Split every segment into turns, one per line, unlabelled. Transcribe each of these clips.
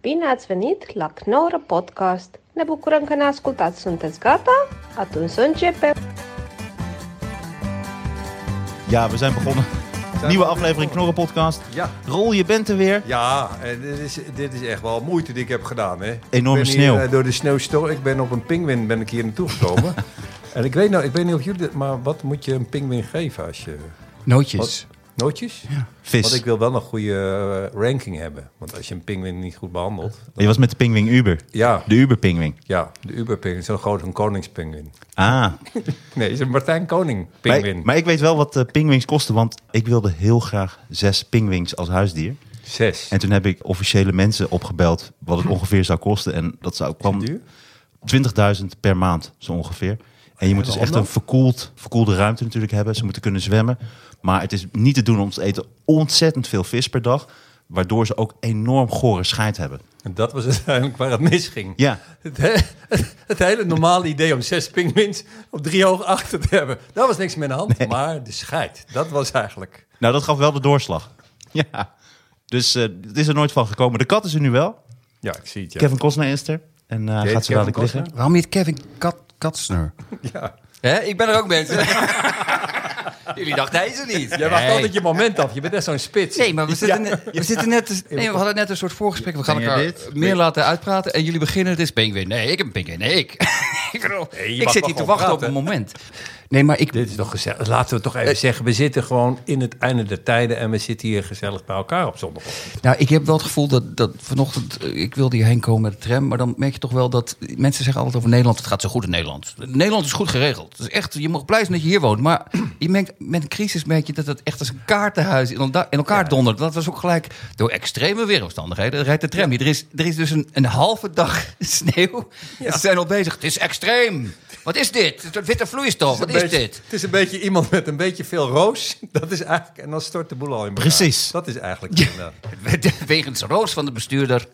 Bine ați venit la Knorr Podcast! Ne bucurăm că ne ascultați! Sunteți gata? Atunci să începem!
Ja, we zijn begonnen. Nieuwe aflevering Knorren Podcast.
Ja.
Rol, je bent er weer.
Ja, en dit is, dit is echt wel moeite die ik heb gedaan. Hè.
Enorme
ik ben hier,
sneeuw.
eh, door de sneeuwstorm. Ik ben op een pinguïn ben ik hier naartoe gekomen. en ik weet, nou, ik weet niet of jullie... dit- Maar wat moet je een pinguïn geven als je...
Nootjes.
Oh.
Nootjes?
Vis.
Want ik wil wel een goede eh, ranking hebben. Want als je een pinguïn niet goed behandelt...
Je was met de pingwing Uber.
Ja,
De Uber-pingwing.
ja de Uber-pinguïn is zo'n groot een koningspinguïn.
Ah,
Nee, is een Martijn Koning
maar,
pinguïn.
maar ik weet wel wat eh pingwings kosten, want ik wilde heel graag zes pingwings als huisdier.
Zes.
En toen heb ik officiële mensen opgebeld wat het ongeveer zou kosten. En dat zou kwam
Hm. duur?
20.000 per maand, zo ongeveer. En je moet dus echt een
handig.
verkoeld, verkoelde ruimte natuurlijk hebben. Ze moeten kunnen zwemmen. Maar het is niet te doen om te eten ontzettend veel vis per dag. Waardoor ze ook enorm gore scheid hebben.
En dat was uiteindelijk waar het misging.
Ja.
Het, he- het hele normale idee om zes pinguïns op drie ogen achter te hebben. Daar was niks meer aan de hand. Maar de scheid, dat was eigenlijk...
Nou, dat gaf wel de doorslag. Ja. Dus eh, het is er nooit van gekomen. De kat is er nu wel.
Ja, ik zie het, ja.
Kevin Costner is er. En eh,
heet
gaat ze
Kevin
dadelijk
Costner?
liggen.
Waarom niet Kevin Kat Katsner?
Ja.
Hè? Ik ben er ook mensen. Jullie dachten hij is er niet.
Jij wacht
Nee.
altijd je moment af. Je bent echt zo'n spits.
Nee, maar we zitten, net, we, zitten net, nee, we hadden net een soort voorgesprek. We gaan
Ben je
elkaar
dit?
meer laten uitpraten. En jullie beginnen, het is pinguïn. Nee, ik heb een pinguïn. Nee, ik. ik, bedoel,
Nee, je
ik
mag
zit
wel
hier te
gewoon
wachten op
praten.
een moment. Nee, maar ik...
Dit is toch gezellig. Laten we toch
Eh.
even zeggen, we zitten gewoon in het einde der tijden en we zitten hier gezellig bij elkaar op zondag.
Nou, ik heb wel het gevoel dat, dat vanochtend, eh, ik wilde hierheen komen met de tram, maar dan merk je toch wel dat mensen zeggen altijd over Nederland, het gaat zo goed in Nederland. Nederland is goed geregeld. Dus echt, je mag blij zijn dat je hier woont. Maar je merkt, met een crisis merk je dat het echt als een kaartenhuis in elda- in elkaar dondert. Dat was ook gelijk door extreme weeromstandigheden. Rijdt de tram hier. Er is, er is dus een, een halve dag sneeuw. Ze zijn al bezig. Het is extreem. Wat is dit? Het is een witte vloeistof. Wat is dit?
Het is een beetje iemand met een beetje veel roos. Dat is eigenlijk, en dan stort de boel al in elkaar.
Precies.
Dat is eigenlijk... Ja,
Wegens roos van de bestuurder.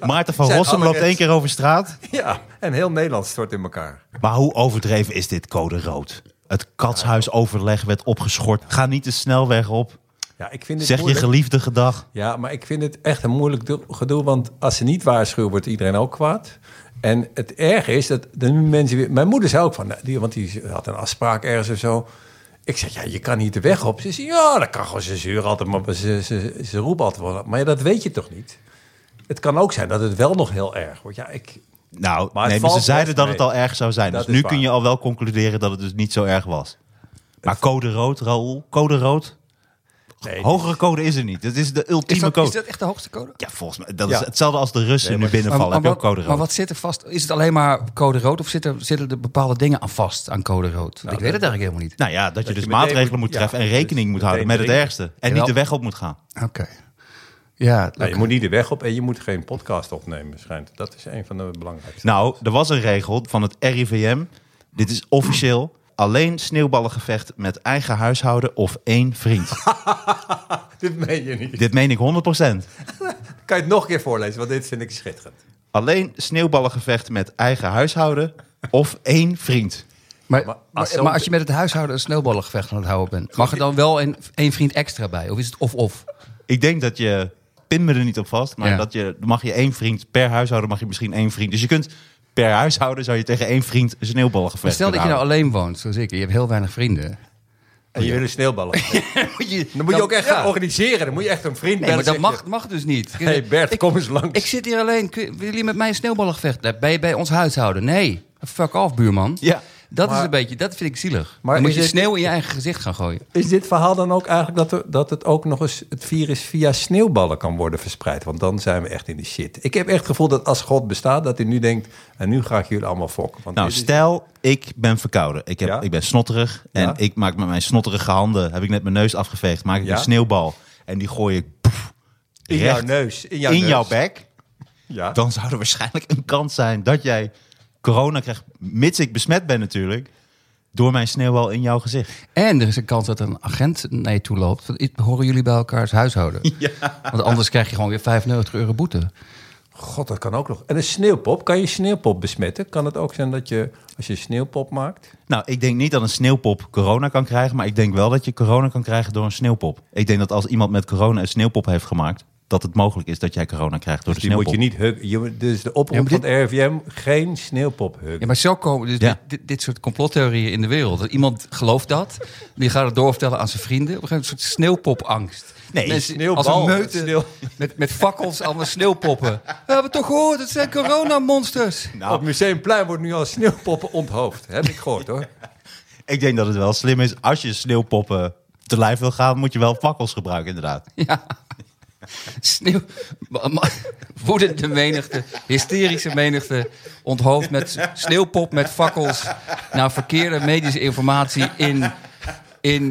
Maarten van
Zijn
Rossum loopt
allergisch.
één keer over straat.
ja. en heel Nederland stort in elkaar.
Maar hoe overdreven is dit code rood? Het katshuisoverleg werd opgeschort. Ga niet de snelweg op.
Ja, ik vind het
Zeg je
moeilijk.
geliefde gedag.
Ja, maar ik vind het echt een moeilijk do- gedoe. Want als ze niet waarschuwen, wordt iedereen ook kwaad. En het erg is dat er nu mensen weer... Mijn moeder zei ook van... nou, Die, want die had een afspraak ergens of zo. Ik zeg, ja, je kan niet de weg op. Ze zei, ja, dat kan gewoon. Ze zeuren altijd, maar ze, ze, ze roepen altijd wel. Maar ja, dat weet je toch niet? Het kan ook zijn dat het wel nog heel erg wordt. Ja, ik...
Nou,
Maar het
nee, maar ze
valt
zeiden
echt
dat
mee.
het al erg zou zijn.
Dat
dus
is
nu
waar.
kun je al wel concluderen dat het dus niet zo erg was. Maar code rood, Raoul, code rood.
Nee,
Hogere code is er niet. Dat is de ultieme
Is dat,
code.
is dat echt de hoogste code?
Ja, volgens mij. Dat is
Ja.
hetzelfde als de Russen
Nee,
nu
maar-
binnenvallen.
Maar, maar
Heb je ook
wat,
code
maar
rood?
wat zit er vast? Is het alleen maar code rood of zit er, zitten er bepaalde dingen aan vast aan code rood? ik weet het eigenlijk helemaal niet.
Nou ja, dat, je dus
je meteen
maatregelen
moet-
moet
ja,
treffen en
dus
rekening moet
meteen
houden met het
drinken.
ergste. En niet
Jawel.
de weg op moet gaan.
Oké. Ja,
Nou,
oké.
je moet niet de weg op en je moet geen podcast opnemen, schijnt. Dat is een van de belangrijkste.
Nou, er was een regel van het RIVM. Dit is officieel. Alleen sneeuwballengevecht met eigen huishouden of één vriend.
Dit meen je niet.
Dit meen ik 100%.
Kan je het nog een keer voorlezen, want dit vind ik schitterend.
Alleen sneeuwballengevecht met eigen huishouden of één vriend.
maar,
maar
maar,
als
maar
zo-
als, je met het huishouden een sneeuwballengevecht aan het houden bent, mag er dan wel een, één vriend extra bij? Of is het of-of?
Ik denk dat je, pin me er niet op vast, maar
Ja.
dat je, dan mag je één vriend per huishouden, mag je misschien één vriend. Dus je kunt per huishouden zou je tegen één vriend een sneeuwballengevecht
Stel dat je
kunnen
nou
houden.
alleen woont, zoals ik, en je hebt heel weinig vrienden.
En je wil een sneeuwballen.
Moet je,
Dan moet je ook echt gaan organiseren. Dan moet je echt een vriend
Nee, maar dat
bellen,
mag,
zeg
mag dus niet.
je, hey Bert, kom eens langs.
Ik zit hier alleen. Kun- Willen jullie met mij een sneeuwballengevecht? Nee, Ben je bij ons huishouden? Nee. Fuck off, buurman.
Ja.
Dat
Maar-
is een beetje, dat vind ik zielig.
Maar
dan moet
is
je
het-
sneeuw in je eigen gezicht gaan gooien.
Is dit verhaal dan ook eigenlijk dat, er- dat het ook nog eens het virus via sneeuwballen kan worden verspreid? Want dan zijn we echt in de shit. Ik heb echt het gevoel dat als God bestaat, dat hij nu denkt, en nu ga ik jullie allemaal fokken. Want
Nou,
dit is-
stel, ik ben verkouden. Ik, heb,
Ja.
ik ben snotterig. En
Ja.
ik maak met mijn snotterige handen, heb ik net mijn neus afgeveegd, maak ik
Ja.
een sneeuwbal. En die gooi ik poef,
in
recht
jouw neus. In jouw,
in
neus.
jouw bek.
Ja.
Dan zou er waarschijnlijk een kans zijn dat jij corona krijgt, mits ik besmet ben natuurlijk, door mijn sneeuwbal in jouw gezicht.
En er is een kans dat er een agent naar je toe loopt. Want dit horen jullie bij elkaars huishouden? Want anders krijg je gewoon weer 95 euro boete.
God, dat kan ook nog. En een sneeuwpop, kan je sneeuwpop besmetten? Kan het ook zijn dat je, als je een sneeuwpop maakt...
Nou, ik denk niet dat een sneeuwpop corona kan krijgen, maar ik denk wel dat je corona kan krijgen door een sneeuwpop. Ik denk dat als iemand met corona een sneeuwpop heeft gemaakt, dat het mogelijk is dat jij corona krijgt door
Dus
de
die moet
sneeuwpop.
je niet huk- je moet- dus de oproep
Ja, maar dit-
van het RIVM, geen sneeuwpop huggen.
Ja, maar zo komen dus
Ja.
dit, dit soort complottheorieën in de wereld. Dat Iemand gelooft dat, die gaat het doorvertellen aan zijn vrienden. We gaan een soort sneeuwpopangst.
Nee,
als
sneeuwbal,
een meute
sneeuw-
met, met fakkels, allemaal sneeuwpoppen. We hebben toch gehoord, het zijn coronamonsters.
Op Museumplein wordt nu al sneeuwpoppen onthoofd. Heb ik gehoord hoor.
Ik denk dat het wel slim is. Als je sneeuwpoppen te lijf wil gaan, moet je wel fakkels gebruiken, inderdaad.
Ja. Sneeuw, ma- ma- woedende menigte, hysterische menigte, onthoofd met s- sneeuwpop met fakkels naar verkeerde medische informatie in, in,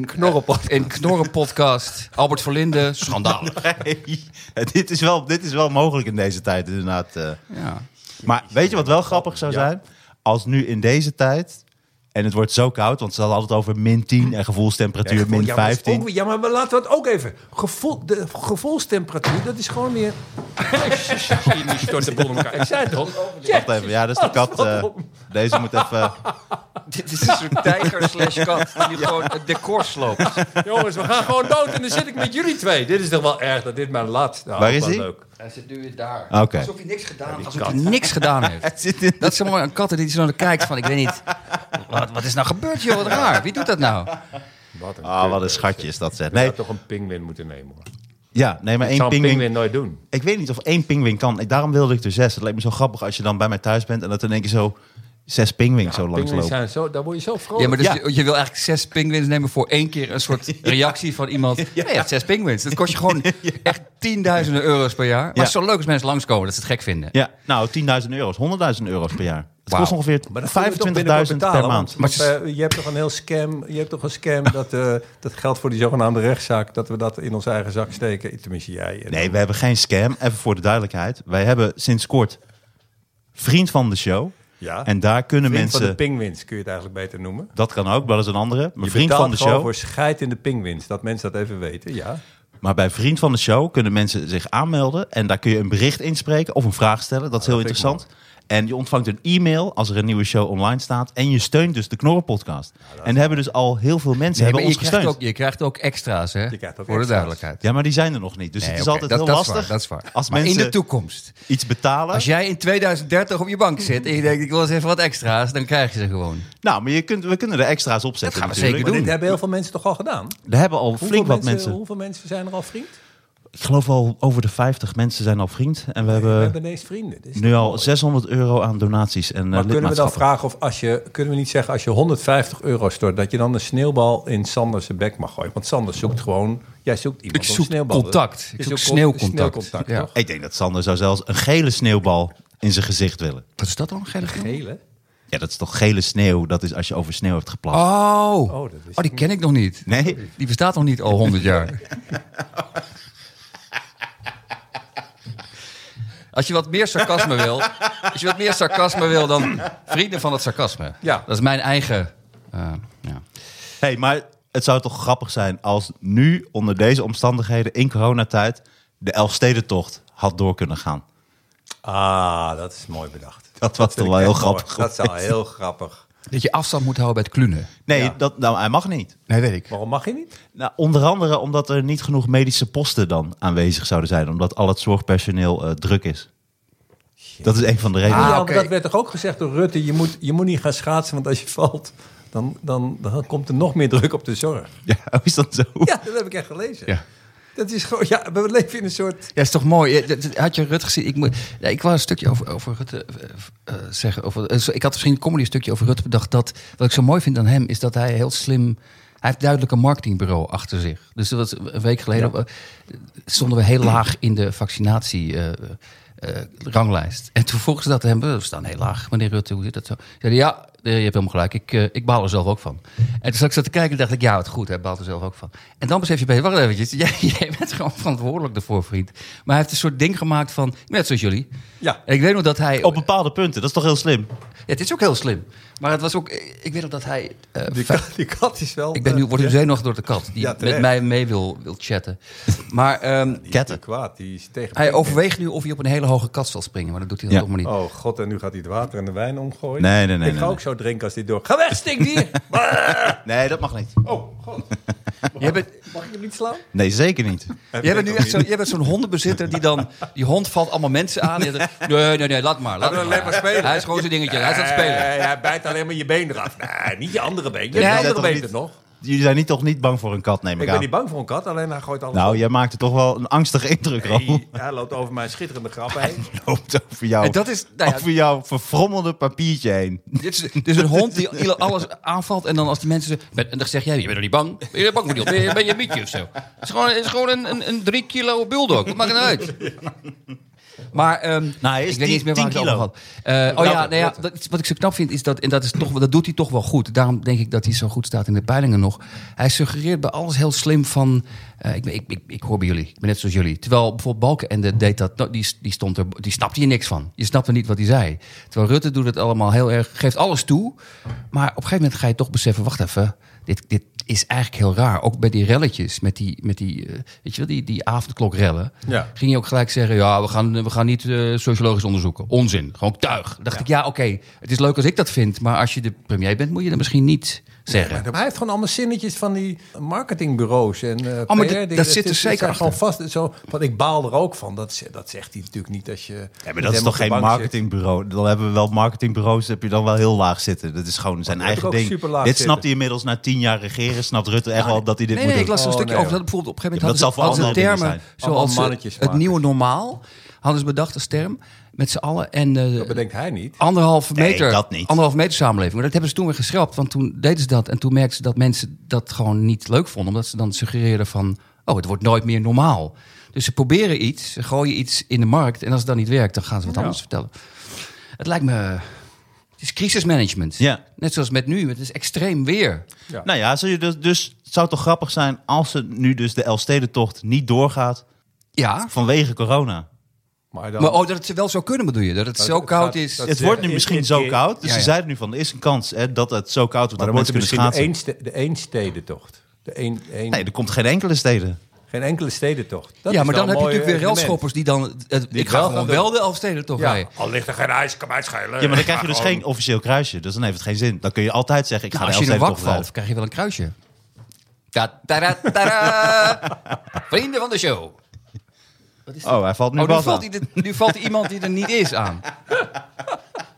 in Knorrenpodcast. Albert Verlinde, schandalig.
Nee, dit, is wel, dit is wel mogelijk in deze tijd, inderdaad. eh.
Ja.
Maar weet je wat wel grappig zou zijn? Als nu in deze tijd, en het wordt zo koud, want ze hadden altijd over min 10 en gevoelstemperatuur min
Ja, maar dat is
15.
ook- ja, maar we laten we het ook even. Gevoel, de gevoelstemperatuur, dat is gewoon weer. Chemie stort de boel in elkaar. Ik zei het al.
Wacht even, ja, dat is de kat. eh, deze moet even.
Dit is een soort tijger slash kat die gewoon het decor sloopt.
Jongens, we gaan gewoon dood en dan zit ik met jullie twee. Dit is toch wel erg dat dit mijn laatste. Nou,
Waar is
wel
hij?
leuk.
Hij zit nu weer daar.
Oké.
Alsof hij niks gedaan, alsof hij niks gedaan heeft.
Het zit in-
Dat is zo mooi aan katten die zo naar kijkt van, ik weet niet, wat, wat is nou gebeurd joh, wat raar. Wie doet dat nou?
Wat een,
Ah, wat een
kut.
schatje is dat, zeg.
Je
Nee,
had toch een pinguïn moeten nemen hoor. Ik
ja, nee maar
zou
één
een
pingwing.
pinguïn nooit doen.
Ik weet niet of één pingwing kan. Ik, daarom wilde ik er zes. Het lijkt me zo grappig als je dan bij mij thuis bent en dat in één keer zo zes pingwings zo langs
Pinguïns
lopen.
zijn zo, daar word je zo vrolijk.
Ja, maar dus
Ja.
Je, je wil eigenlijk zes penguins nemen voor één keer een soort reactie van iemand. Nou Ja, je hebt zes penguins. Dat kost je gewoon echt tienduizenden euro's per jaar. Maar
Ja.
het is zo leuk als mensen langskomen dat ze het gek vinden.
Ja, nou 10.000 euro's, 100.000 euro's per jaar. Het
Wauw.
kost ongeveer 25.000 per maand.
Maar
Maar
Eh, je, hebt toch een heel scam. Je hebt toch een scam dat, eh, dat geldt voor die zogenaamde rechtszaak. Dat we dat in onze eigen zak steken. Tenminste, jij. en-
Nee, we hebben geen scam. Even voor de duidelijkheid. Wij hebben sinds kort vriend van de show.
Ja.
En daar kunnen
Vriend
mensen...
van de pinguïns kun je het eigenlijk beter noemen.
dat kan ook, maar dat is een andere. Maar
Je
vriend
betaalt
van de
gewoon
show.
voor scheid in de pinguïns. Dat mensen dat even weten, ja.
Maar bij vriend van de show kunnen mensen zich aanmelden. En daar kun je een bericht inspreken of een vraag stellen. Dat is heel
vind ik
interessant. En je ontvangt een e-mail als er een nieuwe show online staat. En je steunt dus de Knorrenpodcast. en hebben dus al heel veel mensen
Nee,
hebben
maar je,
ons
krijgt
gesteund.
ook, je krijgt ook extra's, hè?
Je krijgt ook
voor
extra's.
de duidelijkheid.
Ja, maar die zijn er nog niet. Dus
Nee,
het is
oké,
altijd
dat,
heel
dat
lastig.
Is waar, dat is waar.
Als
maar in
mensen
de toekomst.
iets betalen.
Als jij in 2030 op je bank zit en je denkt, ik wil eens even wat extra's, dan krijg je ze gewoon.
Nou, maar je kunt, we kunnen er extra's op zetten.
gaan we
natuurlijk.
zeker
Maar
doen.
Dit hebben heel veel mensen toch al gedaan?
dit- Er hebben al flink wat mensen. Eh,
Hoeveel mensen zijn er al vriend?
Ik geloof al over de 50 mensen zijn al vriend. En we
We
hebben
hebben ineens vrienden. Dit is
nu
toch
al
mooi.
600 euro aan donaties en
Maar
eh,
kunnen we dan
lidmaatschappen.
vragen of als je, kunnen we niet zeggen als je 150 euro stort, dat je dan een sneeuwbal in Sanders zijn bek mag gooien? Want Sanders zoekt gewoon, jij zoekt iemand
Ik
om
zoek
sneeuwballen.
contact. Ik
Je
zoek
zoekt
sneeuwcontact.
sneeuwcontact,
Ja.
toch?
Ik denk dat Sander zou zelfs een gele sneeuwbal in zijn gezicht willen.
Wat is dat dan? Gele geel?
Hele?
Ja, dat is toch gele sneeuw? Dat is als je over sneeuw hebt geplakt.
Oh,
Oh,
oh,
dat is-
die ken ik nog niet.
Nee?
Die bestaat nog niet al 100 jaar. Als je wat meer sarcasme wil, als je wat meer sarcasme wil dan vrienden van het sarcasme.
Ja.
Dat is mijn eigen. eh, ja.
Hey, maar het zou toch grappig zijn als nu onder deze omstandigheden in coronatijd de Elfstedentocht had door kunnen gaan.
Ah, dat is mooi bedacht.
Dat was
vind
toch wel
ik
heel
echt mooi.
grappig.
Dat zou
geweest.
heel grappig.
Dat je afstand moet houden bij het klunen.
Nee,
Ja.
dat, nou, hij mag niet.
Nee, weet ik.
Waarom mag je niet?
Nou, onder andere omdat er niet genoeg medische posten dan aanwezig zouden zijn. Omdat al het zorgpersoneel eh, druk is. Dat is een van de redenen.
ja, maar
oké.
dat werd toch ook gezegd door Rutte, je moet, je moet niet gaan schaatsen, want als je valt, dan, dan, dan komt er nog meer druk op de zorg.
Ja, is dat zo?
Ja, dat heb ik echt gelezen.
Ja.
Dat is gewoon, ja, we leven in een soort...
Ja, is toch mooi. Ja, dat- dat- Had je Rut gezien? Ik, moet, ja, ik wou een stukje over, over Rutte eh, eh, zeggen. Over, eh, zo- ik had misschien een comedy stukje over Rutte bedacht. Dat, wat ik zo mooi vind aan hem is dat hij heel slim... Hij heeft duidelijk een marketingbureau achter zich. Dus dat was een week geleden eh, stonden we heel laag in de vaccinatie-ranglijst. en toen vroegen ze dat hem. We staan heel laag, meneer Rutte, hoe zit dat zo? Zeiden, ja, eh, je hebt helemaal gelijk. Ik, eh, ik baal er zelf ook van. En toen zat ik zo te kijken en dacht ik, ja, het goed, hij baalt er zelf ook van. En dan besef je bij, wacht eventjes, jij, jij bent gewoon verantwoordelijk ervoor, vriend. Maar hij heeft een soort ding gemaakt van, net zoals jullie.
Ja.
En ik weet nog dat hij...
Op bepaalde punten, dat is toch heel slim?
Ja, het is ook heel slim. Maar het was ook, eh, ik weet nog dat hij... eh,
Die
vijf-
kat, die kat is wel... eh,
ik ben nu, word nu
Ja.
zenuwachtig door de kat, die
Ja, terecht.
met mij mee wil, wil chatten. Maar ehm,
Ketten.
Die kwaad, die is tegen
hij
Pinguïns.
overweegt nu of hij op een hele hoge kat zal springen. Maar dat doet hij dan
Ja.
toch maar niet.
Oh god, en nu gaat hij het water en de wijn omgooien.
Nee, nee, nee,
Ik ga
nee,
ook zo drinken als hij door. Ga weg, stinkdier!
Nee, dat mag niet.
oh god.
Jij bent,
Mag ik hem niet slaan?
Nee, zeker niet.
jij bent nu echt zo, jij bent zo'n hondenbezitter die dan... Die hond valt allemaal mensen aan. en je zegt, nee, nee, nee, laat maar. Laat
Laten we
maar.
alleen maar spelen.
Hij is gewoon zijn dingetje. Hij is aan het spelen.
Nee, hij bijt alleen maar je been eraf. Nee, niet je andere been. Je
Jullie zijn
andere
toch
been
niet-
er nog.
Jullie zijn niet, toch niet bang voor een kat, neem ik,
Ik
aan.
ben niet bang voor een kat, alleen hij gooit alles
Nou,
op.
jij maakte toch wel een angstige indruk, Ram.
Hey, hij loopt over mijn schitterende grap heen.
Loopt over jou.
En dat is... Nou ja,
over jouw verfrommelde papiertje heen.
dit is, dit is een hond die ieder- alles aanvalt. En dan als die mensen... ze- met- en dan zeg jij, je bent nog niet bang? Ben je bang voor die hond? Ben je, ben je een mietje of zo? Het is gewoon, het is gewoon een, een, een drie kilo bulldog. Wat maakt het nou uit? Maar ehm,
Nou, hij
ik
is
weet
tien-
niet eens meer waar ik het
tien
over had. Eh, oh ja, nou ja dat is- wat ik zo knap vind is dat, en dat, is toch, dat doet hij toch wel goed. Daarom denk ik dat hij zo goed staat in de peilingen nog. Hij suggereert bij alles heel slim van, eh, ik, ben- ik, ik, ik hoor bij jullie, ik ben net zoals jullie. Terwijl bijvoorbeeld Balkenende deed dat, no- die, die, stond er, die snapte hier niks van. Je snapte niet wat hij zei. Terwijl Rutte doet het allemaal heel erg, geeft alles toe. Maar op een gegeven moment ga je toch beseffen, wacht even, dit, dit is eigenlijk heel raar. Ook bij die relletjes, met die, met die, eh, weet je wel, die, die avondklokrellen
Ja.
ging je ook gelijk zeggen: ja, we gaan, we gaan niet eh, sociologisch onderzoeken. Onzin, gewoon tuig. Dacht ik, ja, oké, het is leuk als ik dat vind, maar als je de premier bent, moet je dat misschien niet zeggen.
Hij heeft gewoon allemaal zinnetjes van die marketingbureaus en
Oh,
eh
maar
PR
dit-
dingen.
dat zit er
is-
zeker
zijn gewoon vast. Zo, want ik baal er ook van. Dat, ze- dat zegt hij natuurlijk niet als je.
Ja, maar
met
dat is
hem
toch
op de
geen
bank zit.
marketingbureau? Dan hebben we wel marketingbureaus, heb je dan wel heel laag zitten. Dat is gewoon zijn
die heb
eigen
ik ook
ding. Dit
superlaag
snapt
zitten.
hij inmiddels na tien jaar regeren. Snapt Rutte echt wel dat hij dit
Nee,
moet
nee, ik
doen.
las er een
Oh,
stukje
nee,
over. Dat bijvoorbeeld op een gegeven
Ja,
moment
maar dat zal
hadden ze,
voor
hadden ze
andere
termen
dingen
zijn.
zoals
Allemaal
eh, het
mannetjesmakers.
nieuwe normaal. Hadden ze bedacht als term met z'n allen. En eh,
Dat bedenkt hij niet.
anderhalve
Nee,
meter,
dat niet.
anderhalve meter samenleving. Maar dat hebben ze toen weer geschrapt. Want toen deden ze dat. En toen merkten ze dat mensen dat gewoon niet leuk vonden. Omdat ze dan suggereerden van, oh, het wordt nooit meer normaal. Dus ze proberen iets, ze gooien iets in de markt. En als het dan niet werkt, dan gaan ze wat anders vertellen. Het lijkt me... Het is crisismanagement.
Ja.
Net zoals met nu. Het is extreem weer.
Ja.
Nou ja, zou je dus, dus het zou toch grappig zijn als het nu dus de Elfstedentocht niet doorgaat
Ja.
vanwege corona.
Maar dan,
Maar oh, dat het ze wel zou kunnen bedoel je? Dat het zo
het
koud
gaat-
is.
dat-
Het
is,
wordt
eh,
nu
in-
misschien
in-
zo
in-
koud. Dus
Ja,
ze
ja.
zeiden nu van, er is een kans hè, dat het zo koud wordt
maar dan
dat
wordt
mensen
er
kunnen
misschien de,
schaatsen.
eenste, de eenstedentocht. De een, een,
Nee, er komt geen enkele steden.
Geen enkele stedentocht. Dat
ja,
is
maar
wel
dan heb je
een mooi
natuurlijk weer
evenement.
relschoppers die dan... het- ik
wel
ga
gaan
gewoon
doen.
wel de Elfsteden toch
Ja,
rijden.
al ligt er geen ijs, kan mij het schelen.
Ja, maar dan krijg je dus geen officieel kruisje. Dus dan heeft het geen zin. Dan kun je altijd zeggen, ik ga
Nou,
de
als je in een wak
Elfstedentocht
valt,
rijden.
krijg je wel een kruisje. Ta -ta -ta -ta Vrienden van de show.
Oh, hij valt nu
Oh, nu
Bas
valt,
aan.
ie de- nu valt ie iemand die er niet is aan.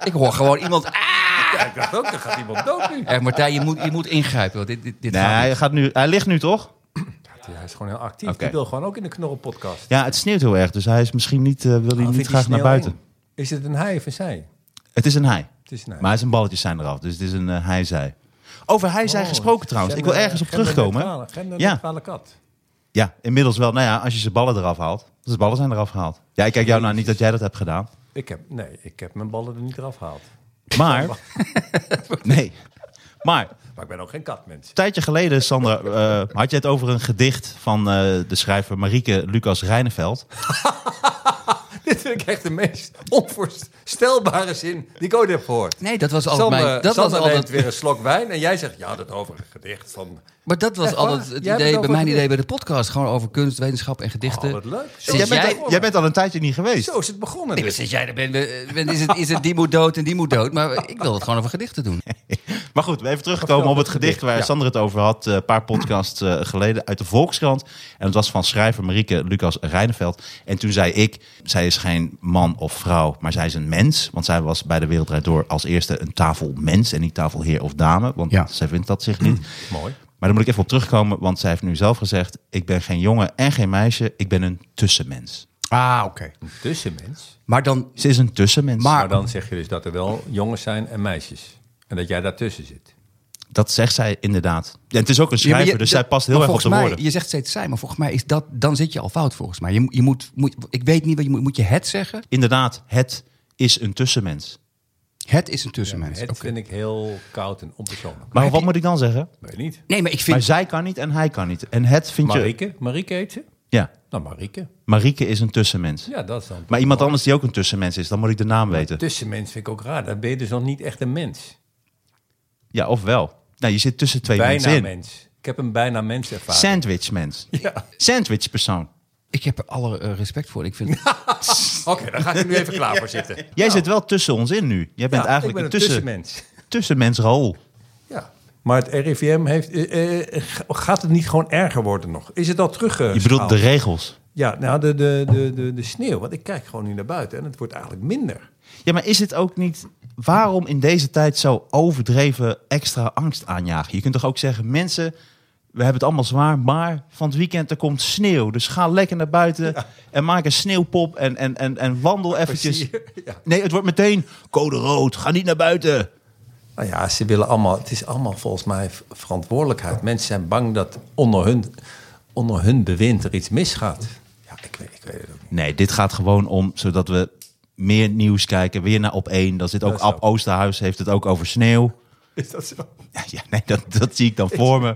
Ik hoor gewoon iemand... Ah!
Ja, ik dacht ook, dan gaat iemand dood nu.
Eh, Martijn, je moet, je moet ingrijpen. Want dit, dit, dit
Nee,
gaat niet.
hij, gaat nu, hij ligt nu toch?
Hij is gewoon heel actief.
Oké.
Die wil gewoon ook in de knorrelpodcast.
Ja, het sneeuwt heel erg. Dus hij is misschien niet, eh, wil hij
Al
niet
vindt
graag
hij
naar
snel
buiten.
eng. Is het een hij of een zij?
Het is een hij.
Het is een hij.
Maar zijn balletjes zijn eraf. Dus het is een eh, hij-zij. Over
Oh,
hij-zij gesproken trouwens. Ik wil ergens op terugkomen.
Genderneutrale kat.
Ja, inmiddels wel. Nou ja, als je zijn ballen eraf haalt. Dus de ballen zijn eraf gehaald. Ja, ik kijk jou nou niet dat jij dat hebt gedaan.
Ik heb, nee, ik heb mijn ballen er niet eraf gehaald.
Maar... nee. Maar, een
Maar ik ben ook geen katmens.
tijdje geleden, Sander, eh, had je het over een gedicht van eh, de schrijver Marieke Lucas Reineveld.
Dit vind ik echt de meest onvoorstelbare zin die ik ooit heb gehoord.
Nee, dat was altijd
Sander,
mijn... Dat was
Sander neemt
altijd,
weer een slok wijn en jij zegt, ja, dat over een gedicht van...
maar dat was
Echt waar?
altijd het
Jij hebt het
idee, bij
over
mijn
gedicht.
idee bij de podcast. Gewoon over kunst, wetenschap en gedichten.
Oh, wat leuk. Zo,
Sinds
Jij bent,
jij-
al, jij bent al een tijdje niet geweest.
zo is het begonnen
Nee, maar
dus.
sinds jij er bent, eh, bent, is het, is het die moet dood en die moet dood. Maar ik wil het gewoon over gedichten doen.
Maar goed, even teruggekomen op het gedicht waar
Ja.
Sander het over had. eh, Een paar podcasts eh, geleden uit de Volkskrant. En het was van schrijver Marieke Lucas Reineveld. En toen zei ik, zij is geen man of vrouw, maar zij is een mens. Want zij was bij De Wereld Draait Door als eerste een tafelmens en niet tafelheer of dame. Want
Ja.
zij vindt dat zich niet. Maar
Mooi.
daar moet ik even op terugkomen, want zij heeft nu zelf gezegd... ik ben geen jongen en geen meisje, ik ben een tussenmens.
Ah, oké.
Tussenmens.
Maar dan,
Ze is een tussenmens.
Maar-
Maar dan zeg je dus dat er wel jongens zijn en meisjes. En dat jij daartussen zit.
Dat zegt zij inderdaad. Ja, het is ook een
Ja, maar
schrijver,
je-
dus
dat-
zij past
maar
heel erg op
volgens
de
mij,
woorden.
Je zegt steeds zij, maar volgens mij is dat, dan zit je al fout volgens mij. Je, moet- je moet, moet, ik weet niet, wat je moet, moet je het zeggen?
Inderdaad, het is een tussenmens.
Het is een tussenmens.
Het
Oké.
vind ik heel koud en onpersoonlijk.
Maar, wat moet ik dan zeggen?
Weet niet.
Nee, maar ik
Maar
vind...
zij kan niet en hij kan niet. En het vind je...
Marieke? Marieke heet ze?
Ja,
Nou, Marieke.
Marieke is een tussenmens.
Ja, dat is dan.
Maar iemand anders die ook een tussenmens is, dan moet ik de naam weten.
Tussenmens vind ik ook raar. Dan ben je dus nog niet echt een mens.
Ja, of wel. Nou, je zit tussen twee mensen
Bijna
in.
mens. Ik heb een bijna mens ervaring.
Sandwichmens.
Ja.
Sandwichpersoon.
Ik heb er alle eh, respect voor. Ik vind,
Nou. Oké, dan ga ik er nu even klaar voor zitten.
Jij zit wel tussen ons in nu. Jij bent
Ja,
eigenlijk
ik ben
een tussen,
tussenmens.
tussenmens Raoul.
Ja. Maar het RIVM heeft, eh, eh, g- gaat het niet gewoon erger worden nog? Is het al teruggeschaald?
Je bedoelt de regels.
Ja, nou, de, de, de, de, de sneeuw. Want ik kijk gewoon nu naar buiten en het wordt eigenlijk minder.
Ja, maar is het ook niet... Waarom in deze tijd zo overdreven extra angst aanjagen? Je kunt toch ook zeggen, mensen, we hebben het allemaal zwaar... maar van het weekend er komt sneeuw. Dus ga lekker naar buiten en maak een sneeuwpop en, en, en, en wandel eventjes.
Ja.
Nee, het wordt meteen code rood, ga niet naar buiten.
Nou ja, ze willen allemaal, het is allemaal volgens mij v- verantwoordelijkheid. Mensen zijn bang dat onder hun, onder hun bewind er iets misgaat. Ja, ik weet, ik weet het ook niet.
Nee, dit gaat gewoon om zodat we meer nieuws kijken, weer naar op één. Dan zit ook
Dat is
Ab
zo.
Oosterhuis, heeft het ook over sneeuw.
Is dat zo?
Ja, ja, nee, dat, dat zie ik dan voor me.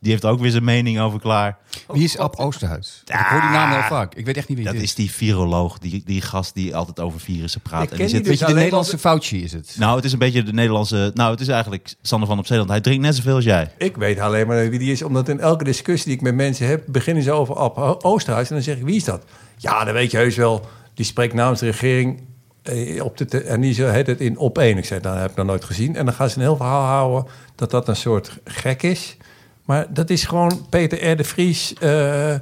Die heeft er ook weer zijn mening over klaar.
Wie is Ab Oosterhuis? Ik hoor die naam heel vaak. Ik weet echt niet wie
Dat
het
is die viroloog, die, die gast die altijd over virussen praat.
Ik
En
ken
die zit...
die dus
Weet je, de
Alleen
Nederlandse
als-
Fauci is het.
Nou, het is een beetje de Nederlandse... Nou, het is eigenlijk Sander van op Zeeland. Hij drinkt net zoveel als jij.
Ik weet alleen maar wie die is, omdat in elke discussie die ik met mensen heb, beginnen ze over Ab Ho- Oosterhuis. En dan zeg ik, wie is dat? Ja, dat weet je heus wel. Die spreekt namens de regering eh, op de te- en die zo heet het in op één. Ik zei, nou, dat heb ik nog nooit gezien. En dan gaan ze een heel verhaal houden dat dat een soort gek is. Maar dat is gewoon Peter R. de Vries, eh,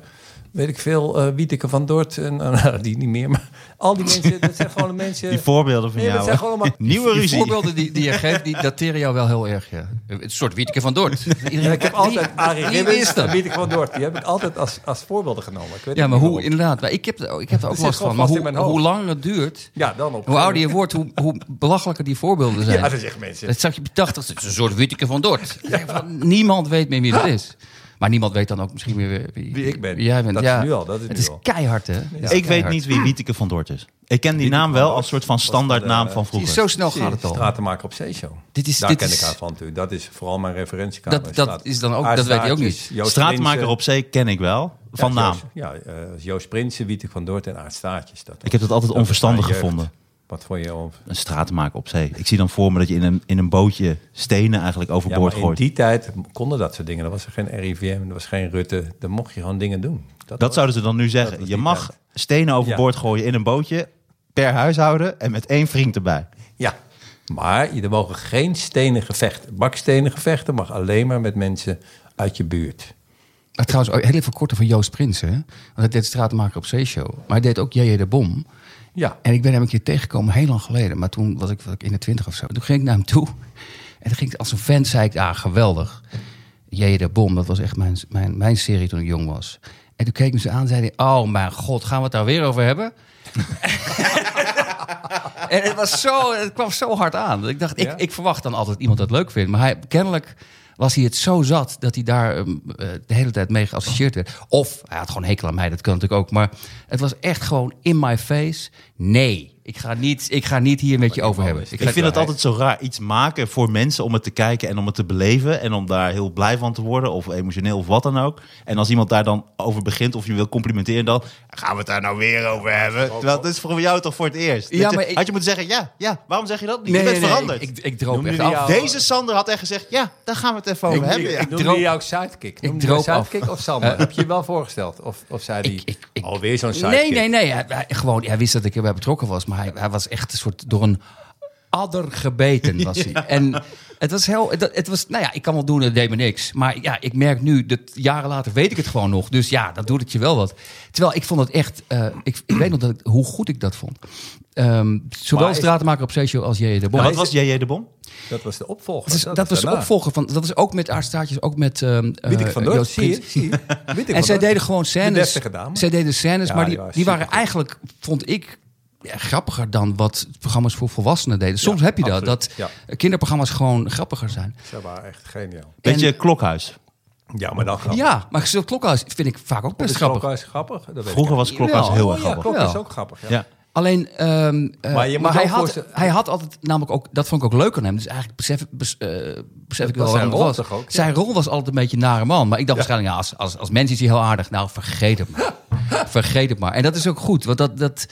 weet ik veel, eh Wieteke van Dort. En, nou, die niet meer, maar al die mensen, dat zijn gewoon de mensen...
Die voorbeelden van
Nee, dat
jou.
zijn
hè?
gewoon allemaal-
Nieuwe
Die
ruzie.
voorbeelden die, die je geeft, die dateren jou wel heel erg. Ja. Het soort Wieteke van Dort. Iedereen-
Ja, ik heb altijd
Wie-
Arie
wie
Ribbens
is dat?
en Wieteke van Dort. Die heb ik altijd als, als voorbeelden genomen. Ik weet
Ja,
niet
maar
waarom.
hoe, inderdaad. Maar ik, heb, er- ik heb er ook
zit
last
gewoon
van. Maar
vast in
hoe,
mijn hoofd.
hoe langer het duurt,
Ja, dan op.
hoe ouder je wordt, hoe, hoe belachelijker die voorbeelden zijn.
Ja, dat zeggen mensen.
Dat zag je op je tachtigste. Het is een soort Wieteke van Dort. Van, Niemand weet meer wie dat is. Maar niemand weet dan ook misschien meer wie,
Wie ik ben.
jij bent.
Dat is
ja.
nu al, dat is
het
nu
is
al.
keihard, hè? Het is
Ik weet
keihard.
niet wie Wieteke van Dort is. Ik ken die naam
van
wel
Dort
als soort van standaardnaam
eh,
van
Zie je,
vroeger.
Zo snel nou gaat het al.
Straten maken op Zeeshow.
Dit is-
Daar
dit
ken
is-
ik haar van natuurlijk. Dat is vooral mijn referentiekamer.
Dat- dat
Straat-
is dan ook- dat weet hij ook
Aardstaartjes,
niet.
Joost
Straatmaker
Prinsen.
op zee ken ik wel, van
Ja,
naam.
Joost- Ja, eh, Joost Prinsen, Wieteke van Dort en Aardstaartjes. Dat was-
Ik heb dat altijd
dat was
onverstandig
mijn jeugd.
gevonden.
Wat vond je over?
Een stratenmaker op zee. Ik zie dan voor me dat je in een, in een bootje stenen eigenlijk
Ja,
overboord
maar in
gooit.
die tijd konden dat soort dingen. Er was er geen RIVM, er was geen Rutte. Dan mocht je gewoon dingen doen.
Dat zouden ze dan nu zeggen.
was
Je
die
mag
tijd.
stenen overboord gooien in een bootje per huishouden en met één vriend erbij.
Ja, maar je- er mogen geen stenen gevechten. Bakstenen gevechten mag alleen maar met mensen uit je buurt.
Maar trouwens, oh, heel even korter van Joost Prinsen. hè. Want hij deed Straatmaker op Zeeshow. Maar hij deed ook JJ de Bom.
Ja.
En ik ben hem een keer tegengekomen, heel lang geleden. Maar toen was ik, was ik in de twintig of zo. Toen ging ik naar hem toe. En toen ging ik als een fan, zei ik, ah, geweldig. J.J. de Bom, dat was echt mijn, mijn, mijn serie toen ik jong was. En toen keek hij me ze aan en zei hij, oh mijn god, gaan we het daar weer over hebben? en het, was zo, het kwam zo hard aan. Dat ik dacht, ik,
Ja?
ik verwacht dan altijd iemand dat leuk vindt. Maar hij, kennelijk was hij het zo zat dat hij daar ehm, eh, de hele tijd mee geassocieerd werd. Of hij had gewoon hekel aan mij, dat kan natuurlijk ook. Maar het was echt gewoon in my face. Nee, ik ga niet, ik ga niet hier met je over hebben.
Ik vind het altijd zo raar. Iets maken voor mensen om het te kijken en om het te beleven. En om daar heel blij van te worden. Of emotioneel of wat dan ook. En als iemand daar dan over begint of je wil complimenteren. Dan gaan we het daar nou weer over hebben. Terwijl dit is voor jou toch voor het eerst.
Ja,
Dat je-
maar ik-
Had je moeten zeggen ja, ja. Waarom zeg je dat niet?
Nee,
je bent
nee, nee,
veranderd.
Ik, ik, ik droop
Noemde
echt
die
af.
jou-
Deze Sander had echt gezegd ja, daar gaan we het even over hebben. ja.
Ik noemde
droop-
jou ook sidekick. Noemde
droop
je
af. Eh?
sidekick of Sam? heb je je wel voorgesteld? Of, of zei die
Ik- ik- ik-
alweer zo'n sidekick?
Nee, nee, nee. Hij, hij- gewoon, hij wist dat ik erbij betrokken was, maar hij, hij was echt een soort door een adder gebeten was hij. En het was heel, het, het was, nou ja, ik kan wel doen, het deed me niks. Maar ja, ik merk nu, dat jaren later weet ik het gewoon nog. Dus ja, dat doet het je wel wat. Terwijl ik vond het echt, eh, ik, ik weet nog dat, ik- hoe goed ik dat vond. Ehm
Maar
zowel
is-
Stratenmaker op Sergio als J.J. de Bom.
Maar wat was JJ de Bom?
Dat was de opvolger.
dat, is- dat was de
daarna.
opvolger van, dat was ook met Aardstaartjes, ook met ehm
Weet ik
eh,
van Dort,
Joost
zie je?
Prins.
Zie je? Weet ik
En
van
zij
Dort.
deden gewoon
De
scènes.
deftige dame.
Zij deden scènes,
Ja,
maar
die
die,
waren
die waren
supergoed.
eigenlijk, vond ik, ja, grappiger dan wat programma's voor volwassenen deden. Soms heb je dat,
absoluut.
dat kinderprogramma's gewoon grappiger zijn.
Ze waren echt geniaal.
Beetje klokhuis.
Ja, maar dan grappig.
Ja, maar zo'n klokhuis vind ik vaak ook
Dat
best
is
grappig.
Klokhuis grappig. Dat weet ik
Vroeger was klokhuis
Jawel.
heel
Oh
erg
ja,
grappig.
Klok is
wel.
ook grappig. Ja.
Ja.
Alleen, ehm, eh,
Maar
maar,
je moet
hij,
wel
had,
voorstellen-
hij had altijd namelijk ook, dat vond ik ook leuk aan hem. Dus eigenlijk besef, bes- eh, besef ik wel
was
waarom
zijn
het
rol
was.
toch ook, ja.
Zijn rol was altijd een beetje een nare man. Maar ik dacht waarschijnlijk, ja, als, als, als mens is hij heel aardig. Nou, vergeet het maar. vergeet het maar. En dat is ook goed, want dat, dat,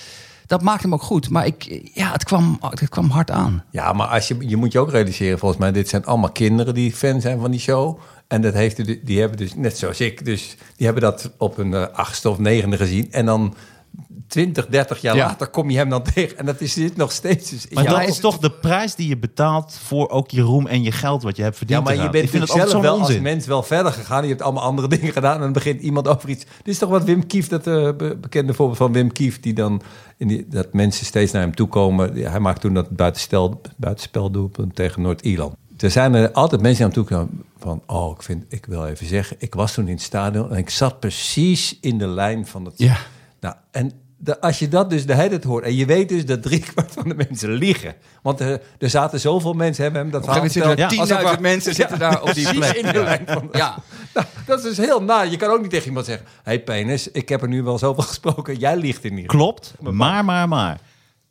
dat maakt hem ook goed. Maar ik, ja, het, kwam, het kwam hard aan.
Ja, maar als je, je moet je ook realiseren, volgens mij, dit zijn allemaal kinderen die fan zijn van die show. En dat heeft, de- die hebben dus, net zoals ik, dus die hebben dat op hun eh, achtste of negende gezien. En dan 20, 30 jaar
Ja.
later kom je hem dan tegen. En dat is dit nog steeds. Dus
Maar
ja,
dat is toch de prijs die je betaalt voor ook je roem en je geld wat je hebt verdiend.
Ja, maar je
eraan.
bent
ik vind
natuurlijk
het altijd
zelf
zo'n
wel als
onzin.
mens wel verder gegaan. Je hebt allemaal andere dingen gedaan. En dan begint iemand over iets. Dit is toch wat Wim Kief, dat eh, be- bekende voorbeeld van Wim Kief. Die dan, in die, dat mensen steeds naar hem toe komen. Ja, Hij maakt toen dat buitenstel, buitenspeldoelpunt tegen Noord-Ierland. Er zijn er altijd mensen naar hem toe gekomen van... Oh, ik, vind, ik wil even zeggen, ik was toen in het stadion... en ik zat precies in de lijn van het...
Ja.
Nou, en de- als je dat dus de hele tijd hoort... en je weet dus dat driekwart van de mensen liegen. Want eh, er zaten zoveel mensen, hebben hem dat
Op een gegeven moment
Ja,
zitten
als het
er 10.000
ware-
mensen zitten daar op die plek.
in de lijn van de-
Ja,
Nou, dat is dus heel na. Je kan ook niet tegen iemand zeggen... hé hey, penis, ik heb er nu wel zoveel gesproken. Jij liegt in ieder geval.
Klopt, maar, maar, maar.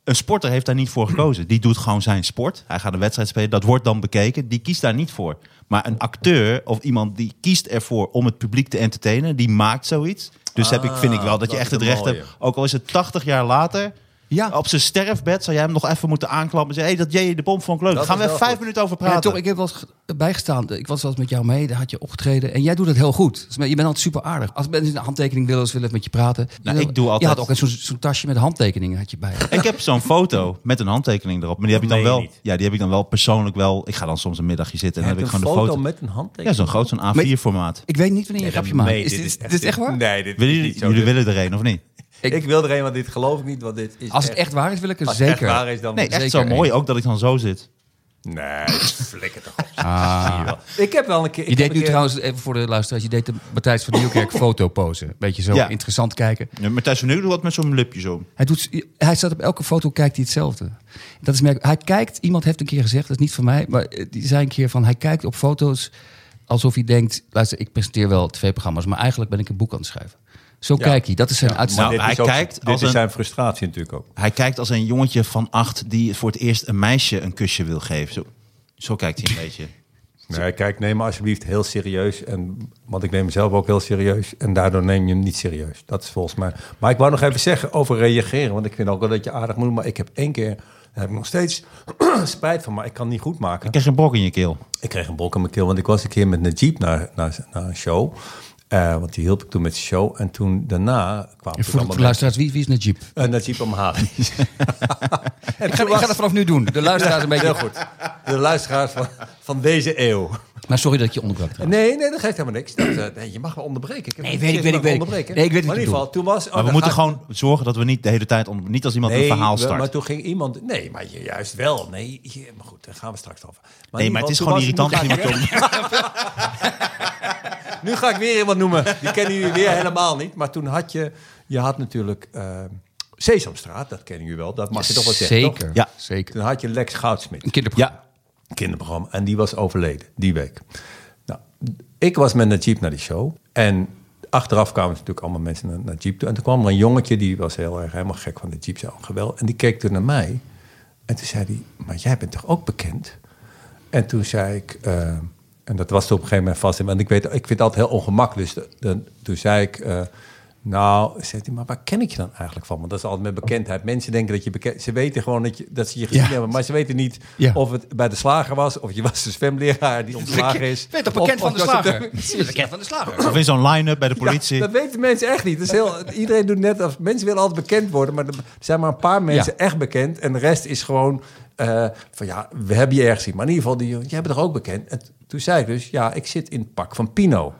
Een sporter heeft daar niet voor gekozen. Die doet gewoon zijn sport. Hij gaat een wedstrijd spelen. Dat wordt dan bekeken. Die kiest daar niet voor. Maar een acteur of iemand die kiest ervoor om het publiek te entertainen, die maakt zoiets. Dus heb ik, vind ik wel dat je
Ah,
echt
dat is
het
een
recht
mooie.
hebt. Ook al is het 80 jaar later.
Ja.
Op zijn sterfbed zou jij hem nog even moeten aanklappen. En zeggen: hey, dat J.J. de Bom vond ik leuk. Daar
Dat
gaan we
is
even
wel
vijf minuten over
Ja,
praten.
toch, ik heb wel eens ge- bijgestaan. Ik was wel eens met jou mee, daar had je opgetreden. En jij doet het heel goed. Dus je bent altijd super aardig. Als mensen een handtekening willen, ze willen met je praten.
Nou,
Je-
ik doe
Je
altijd-
had ook eens zo'n zo'n tasje met handtekeningen had je bij. je.
Ik heb zo'n foto met een handtekening erop. Maar die heb ik dan
meen je
wel.
niet.
Ja, die heb ik dan wel persoonlijk wel. Ik ga dan soms een middagje zitten en dan heb
Heb
ik
een
gewoon
foto
de foto.
met een
Ja,
handtekening?
zo'n groot, zo'n
Met-
A4-formaat.
Ik weet niet wanneer je een grapje maakt.
Nee,
Is dit, is dit echt waar?
Nee, dit
Willen
is
jullie,
niet zo.
jullie willen er een of niet?
Ik,
Ik-
wil er een, want dit geloof ik niet. Want dit is
Als het echt waar is, wil ik er
als het
zeker.
echt waar is, dan...
Nee, echt zo
Zeker
mooi ook dat ik dan zo zit.
Nee, flikker toch op.
Ah.
Zie je wel. Ik heb wel een keer...
Je
ik heb
deed
een
nu
keer-
trouwens, even voor de luisteraars, je deed de Matthijs van Nieuwkerk foto posen. Beetje zo
Ja.
interessant kijken.
Ja, Matthijs van Nieuwkerk doet wat met zo'n lipje zo.
Hij, doet, hij staat op elke foto, kijkt hij hetzelfde. Dat is merk, hij kijkt, iemand heeft een keer gezegd, dat is niet van mij, maar eh, die zei een keer van, hij kijkt op foto's alsof hij denkt, luister, ik presenteer wel tv-programma's, maar eigenlijk ben ik een boek aan het schrijven. Zo
Ja.
kijkt hij, dat is zijn uitstraling.
Nou,
Dit
hij
is ook-
kijkt
Dit
als
is
een-
zijn frustratie natuurlijk ook.
Hij kijkt als een jongetje van acht die voor het eerst een meisje een kusje wil geven. Zo, zo kijkt hij een beetje.
Nee, kijk, neem me alsjeblieft heel serieus. En, want ik neem mezelf ook heel serieus. En daardoor neem je hem niet serieus. Dat is volgens mij. Maar ik wou nog even zeggen over reageren. Want ik vind ook wel dat je aardig moet doen. Maar ik heb één keer. Daar heb ik nog steeds spijt van. Maar ik kan het niet goed maken.
Ik krijg een brok in je keel.
Ik kreeg een brok in mijn keel, want ik was een keer met Najib naar, naar, naar een show. Eh, want die hielp ik toen met zijn show. En toen daarna kwam
En voor de- voor de luisteraars, wie, wie is Najib?
Uh, Najib Amhali. en
Ik ga, ik ga dat vanaf nu doen. De luisteraars een beetje...
Heel goed. De luisteraars van, van deze eeuw.
Maar sorry dat ik je onderbrak. trouwens.
Nee, nee, dat geeft helemaal niks. Dat, eh, nee, je mag wel onderbreken. Ik heb
Nee,
niet
weet ik,
gezegd
weet ik,
dat
weet ik.
onderbreken.
Nee, ik weet
maar in
het
ieder geval,
niet,
toen was... oh,
Maar we
dan
moeten
ga ik-
gewoon zorgen dat we niet de hele tijd... Onder, niet als iemand
Nee,
een verhaal
we- Maar
start.
toen ging iemand... Nee, maar ju- juist wel. Nee, je- maar goed, daar gaan we straks over. in
Nee,
ieder
maar het is
geval,
gewoon
toen
irritant
was-
als
nu
iemand
ga ik
komt.
weer- Nu ga ik weer iemand noemen. Die kennen jullie weer helemaal niet. Maar toen had je... Je had natuurlijk eh, Sesamstraat, dat kennen jullie wel. Dat mag je toch wel zeggen, toch?
Zeker,
Ja.
zeker.
Toen had je Lex Goudsmit.
Een kinderprogramma.
Ja,
kinderprogramma. En die was overleden die week. Nou, ik was met Najib naar die show. En achteraf kwamen natuurlijk allemaal mensen naar Najib toe. En toen kwam er een jongetje, die was heel erg helemaal gek van Najib. Zo geweld. En die keek toen naar mij. En toen zei hij, maar jij bent toch ook bekend? En toen zei ik, eh, en dat was toen op een gegeven moment vast. Want ik, weet, ik vind het altijd heel ongemakkelijk. Dus de- de- toen zei ik, eh, nou, zei hij, maar waar ken ik je dan eigenlijk van? Want dat is altijd met bekendheid. Mensen denken dat je bekend... Ze weten gewoon dat, je, dat ze je gezien
Ja.
hebben. Maar ze weten niet
Ja.
of het bij de slager was. Of je was de zwemleraar die ontslagen is.
Je bent toch
Of-
bekend van
of
de
dat je-
slager? Je bent bekend van de slager.
of in zo'n line-up bij de politie.
Ja, dat weten mensen echt niet. Dat is heel, iedereen doet net als mensen willen altijd bekend worden, maar er zijn maar een paar mensen echt bekend en de rest is gewoon eh, van ja, we hebben je ergens zien. Maar in ieder geval, die, jij bent toch ook bekend? En toen zei ik dus, ja, ik zit in het pak van Pino.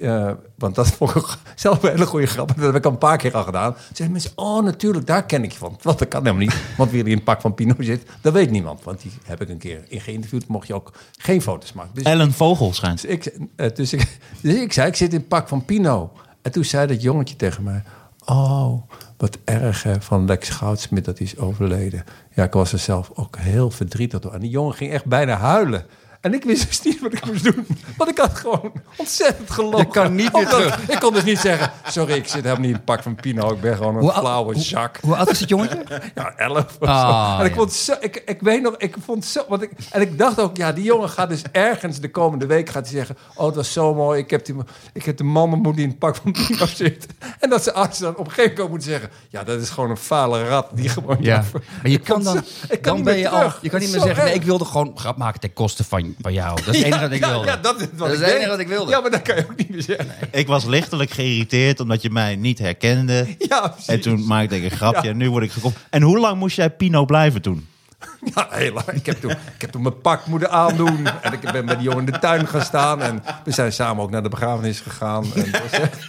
Eh, want dat vond ik ook zelf een hele goede grap. en Dat heb ik al een paar keer al gedaan. Toen Zeiden mensen, oh natuurlijk, daar ken ik je van. Want dat kan helemaal niet. Want wie er in het pak van Pino zit, dat weet niemand. Want die heb ik een keer in geïnterviewd. Mocht je ook geen foto's maken. Dus
Ellen Vogel schijnt.
dus ik, eh, dus, ik, dus ik zei, ik zit in het pak van Pino. En toen zei dat jongetje tegen mij... Oh, wat erg hè, van Lex Goudsmit, dat hij is overleden. Ja, ik was er zelf ook heel verdrietig door. En die jongen ging echt bijna huilen. En ik wist dus niet wat ik moest doen. Want ik had gewoon ontzettend gelogen.
Je kan niet meer
Omdat-
terug.
Ik kon dus niet zeggen... Sorry, ik zit helemaal niet in het pak van Pino. Ik ben gewoon een flauwe zak.
Hoe, hoe oud is het jongetje?
Ja, 11 of
Ah,
zo. En ik,
ja.
vond zo, ik, ik weet nog, ik vond zo. Want ik, en ik dacht ook, ja, die jongen gaat dus ergens de komende week gaat hij zeggen: Oh, het was zo mooi. Ik heb, die, ik heb de man ontmoet die in het pak van Pino zit. En dat ze ouders dan op een gegeven moment moeten zeggen: Ja, dat is gewoon een fale rat die gewoon.
Ja. Maar je
Ik
kan
vond
dan,
zo- ik kan
dan
niet
ben
meer
je al,
terug.
je kan niet
Zo
meer zeggen, nee,
erg.
ik wilde gewoon grap maken ten koste van Van jou. Dat is het enige wat ik
Ja,
wilde.
ja, dat is, wat
Dat is
ik
het
deed.
enige wat ik wilde.
Ja, maar dat kan je ook niet meer zeggen.
Ik was lichtelijk geïrriteerd omdat je mij niet herkende.
Ja, precies.
En toen maakte ik een grapje
Ja.
en nu word ik gekomen. En hoe lang moest jij Pino blijven toen?
Ja, heel lang. Ik heb, toen, ik heb toen mijn pak moeten aandoen. En ik ben met die jongen in de tuin gaan staan. En we zijn samen ook naar de begrafenis gegaan. En het was echt-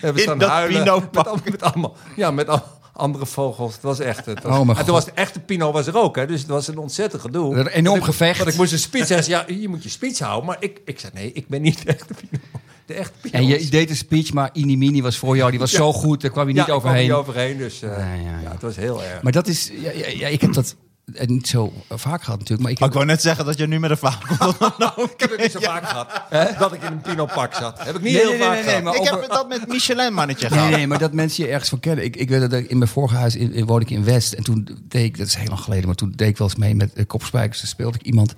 En we
In
staan
dat
huilen.
Pino-pak.
Met, al- met allemaal, ja, met al- andere vogels. Het was echt... Het was,
Oh, mijn
en
God.
toen was het echte Pino was er ook. Hè, dus het was een ontzettend gedoe.
Een enorm
Want ik-
gevecht.
Want ik moest een speech. Hij zei, ja, je moet je speech houden. Maar ik, ik zei, nee, ik ben niet de echte Pino. De echte Pino.
En
is-
je deed een speech, maar Inimini was voor jou. Die was zo goed, daar kwam je niet
ja, ik kwam
overheen.
niet overheen. Dus eh,
Ja, ja,
ja,
ja.
het was heel erg.
Maar dat is... Ja, ja, ja, ik heb dat eh, niet zo vaak gehad natuurlijk. Maar ik heb
Oh, ik wou net zeggen dat je nu met een verhaal komt.
Nou,
ik heb het niet zo vaak gehad. Dat ik in een Pino-pak zat. Heb ik niet
Nee,
heel
nee, nee,
vaak
nee,
gehad.
nee, maar
ik
over-
heb dat met Michelin mannetje
Nee,
gehad.
nee, maar dat mensen je ergens van kennen. Ik, ik weet dat ik in mijn vorige huis in, in- woonde ik in West. En toen deed ik, dat is heel lang geleden, maar toen deed ik wel eens mee met eh, kopspijkers. Toen speelde ik iemand.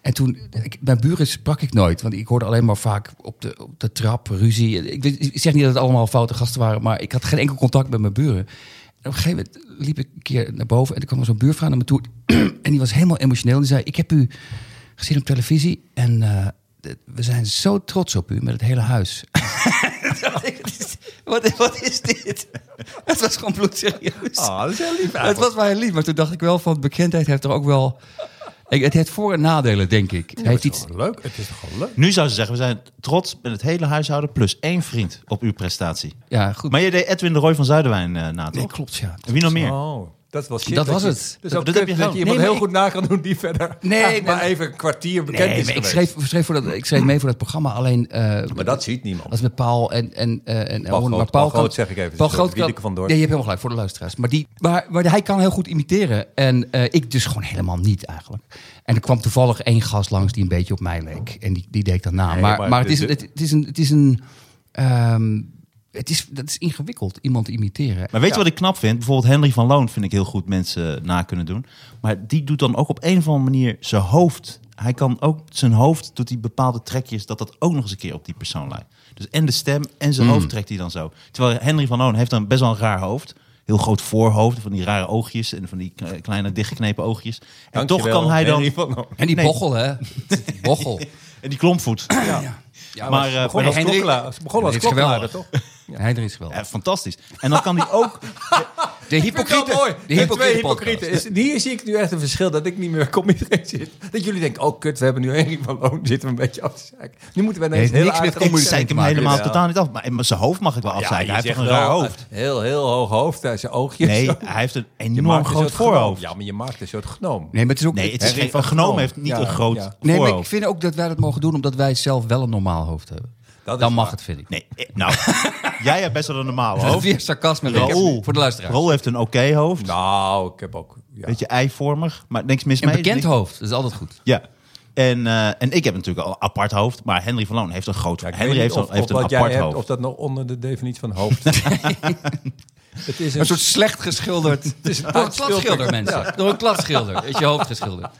En toen, ik, mijn buren sprak ik nooit. Want ik hoorde alleen maar vaak op de, op de trap ruzie. Ik, weet- ik zeg niet dat het allemaal foute gasten waren, maar ik had geen enkel contact met mijn buren. En op een gegeven moment liep ik een keer naar boven en er kwam er zo'n buurvrouw naar me toe. en die was helemaal emotioneel. Die zei, ik heb u gezien op televisie en eh, d- we zijn zo trots op u met het hele huis. wat, wat is dit? Het was gewoon bloedserieus.
Ah, dat is heel lief
het was maar heel lief, maar toen dacht ik wel van bekendheid heeft er ook wel... Ik, het heeft voor- en nadelen, denk ik. Het heeft iets...
leuk. Het is gewoon leuk.
Nu zou ze zeggen, we zijn trots met het hele huishouden plus één vriend op uw prestatie.
Ja, goed.
Maar je deed Edwin de Roy van Zuiderwijn eh na, toch?
nee, klopt, ja.
Wie nog meer?
Oh, dat was shit.
Dat was
je-
het.
Dus
Dat-
ook
dat
kut
heb je
dat
gedaan.
je iemand
Nee,
heel
maar
goed na kan doen die verder
Nee,
nee, maar
nee.
even een kwartier bekend
Nee,
is
maar ik
geweest.
schreef, schreef voor dat, ik schreef mee voor dat programma. Alleen, eh,
Maar dat ziet niemand.
Als met Paul en... en, eh, en en-
Groot.
maar
Paul
kan-
Groot zeg ik even.
Paul
Dus,
Groot
eh,
kan-
Wieleke van Doorn.
Nee, je hebt helemaal gelijk voor de luisteraars. Maar, die, maar, maar hij kan heel goed imiteren. En eh, ik dus gewoon helemaal niet eigenlijk. En er kwam toevallig één gast langs die een beetje op mij leek. En die, die deed ik dan na.
Nee,
maar, maar,
maar
het, is,
de-
het, het is een... Het is een ehm, het is, dat is ingewikkeld, iemand te imiteren.
Maar weet je wat ik knap vind? Bijvoorbeeld Henry van Loon vind ik heel goed mensen na kunnen doen. Maar die doet dan ook op een of andere manier zijn hoofd. Hij kan ook zijn hoofd, doet hij bepaalde trekjes, dat dat ook nog eens een keer op die persoon lijkt. Dus en de stem en zijn hoofd trekt hij dan zo. Terwijl Henry van Loon heeft dan best wel een raar hoofd. Heel groot voorhoofd, van die rare oogjes en van die k- kleine dichtgeknepen oogjes. En toch kan hij dan...
En die
Nee.
bochel, hè? Die bochel.
En die klompvoet.
Ja,
Maar, eh,
maar
Begon als
Henry-
klokkelaar. Begon als
Dit is geweldig.
klokkelaar, toch?
Hij er is wel.
Ja, fantastisch. En dan kan hij ook...
De hypocriete.
Mooi.
De
De twee
hypocriete podcast.
hypocrieten. Is, hier zie ik nu echt een verschil dat ik niet meer kom iedereen zit. Dat jullie denken, oh kut, we hebben nu Henry van Loon, zitten we een beetje af te zeiken. Nu moeten we ineens
Heeft
heel
niks met
aardig
Ik
communiceren.
zeik hem
maken.
helemaal
Jawel.
totaal niet af. Maar maar zijn hoofd mag ik wel
Ja,
afzeiken.
je
hij heeft toch
zegt
een raar
wel,
hoofd.
eh, Heel, heel hoog hoofd. Hij zijn oogjes.
Nee,
Zo.
hij heeft een
Je
enorm
maakt een
groot
soort gnoom.
voorhoofd.
Ja, maar je maakt een soort gnoom.
Nee, maar het is ook.
Nee, het is
Henry
geen,
van
een gnoom
Gnoom.
heeft niet
Ja,
een groot
ja.
Nee, maar ik
voorhoofd.
vind ook dat wij dat mogen doen, omdat wij zelf wel een normaal hoofd hebben.
Dat is
Dan mag
waar.
het, vind ik.
Nee, eh, nou, jij hebt best wel een normaal
Dat is
hoofd.
weer sarcasme
Raoul,
Raoul, voor de luisteraar.
Raoul heeft een oké hoofd.
Nou, ik heb ook... Ja.
Beetje eivormig, maar niks mis
Een
mee.
bekend
Niks-
hoofd, dat is altijd goed.
Ja. En, eh, en ik heb natuurlijk al een apart hoofd, maar Henry van Loon heeft een groot
Ja, ik
hoofd. Henry
weet niet
heeft,
of,
een- heeft
of
een
wat jij
apart
hebt,
hoofd.
Of dat nog onder de definitie van hoofd... het is een,
Een soort slecht geschilderd. Het is door een kladschilder, mensen. Door een kladschilder is je hoofd geschilderd.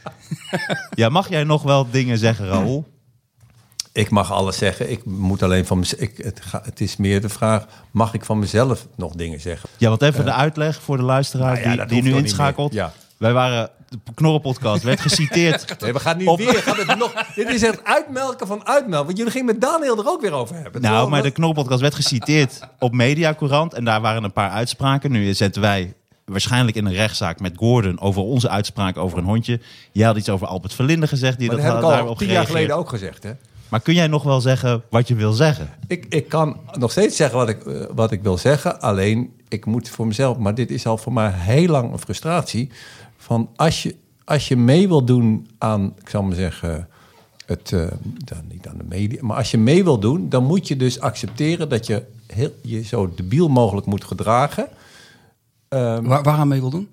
Ja, mag jij nog wel dingen zeggen, Raoul?
Ik mag alles zeggen. Ik moet alleen van mezelf... Ik, het, ga- het is meer de vraag, mag ik van mezelf nog dingen zeggen?
Ja, want even de uitleg voor de luisteraar
nou ja,
die,
dat
die
hoeft
nu
toch niet
inschakelt.
meer. Ja.
Wij waren, de Knorrenpodcast werd geciteerd.
Nee, we gaan nu
Op-
weer... Gaat het nog, dit is het uitmelken van uitmelken. Want jullie gingen met Daniel er ook weer over hebben.
Nou,
Terwijl
maar de
dat-
Knorrelpodcast werd geciteerd op Mediacourant. En daar waren een paar uitspraken. Nu zetten wij waarschijnlijk in een rechtszaak met Gordon over onze uitspraak over een hondje. Jij had iets over Albert Verlinde gezegd, die
Maar
dat,
dat heb ik
daarop
al tien jaar
gereageerd.
geleden ook gezegd, hè?
Maar kun jij nog wel zeggen wat je wil zeggen?
Ik, ik kan nog steeds zeggen wat ik, eh, wat ik wil zeggen. Alleen, ik moet voor mezelf... Maar dit is al voor mij heel lang een frustratie. Van als je, als je mee wil doen aan, ik zal maar zeggen... Het, eh, dan niet aan de media, maar als je mee wil doen... dan moet je dus accepteren dat je heel, je zo debiel mogelijk moet gedragen.
Waar, waar aan mee wil doen?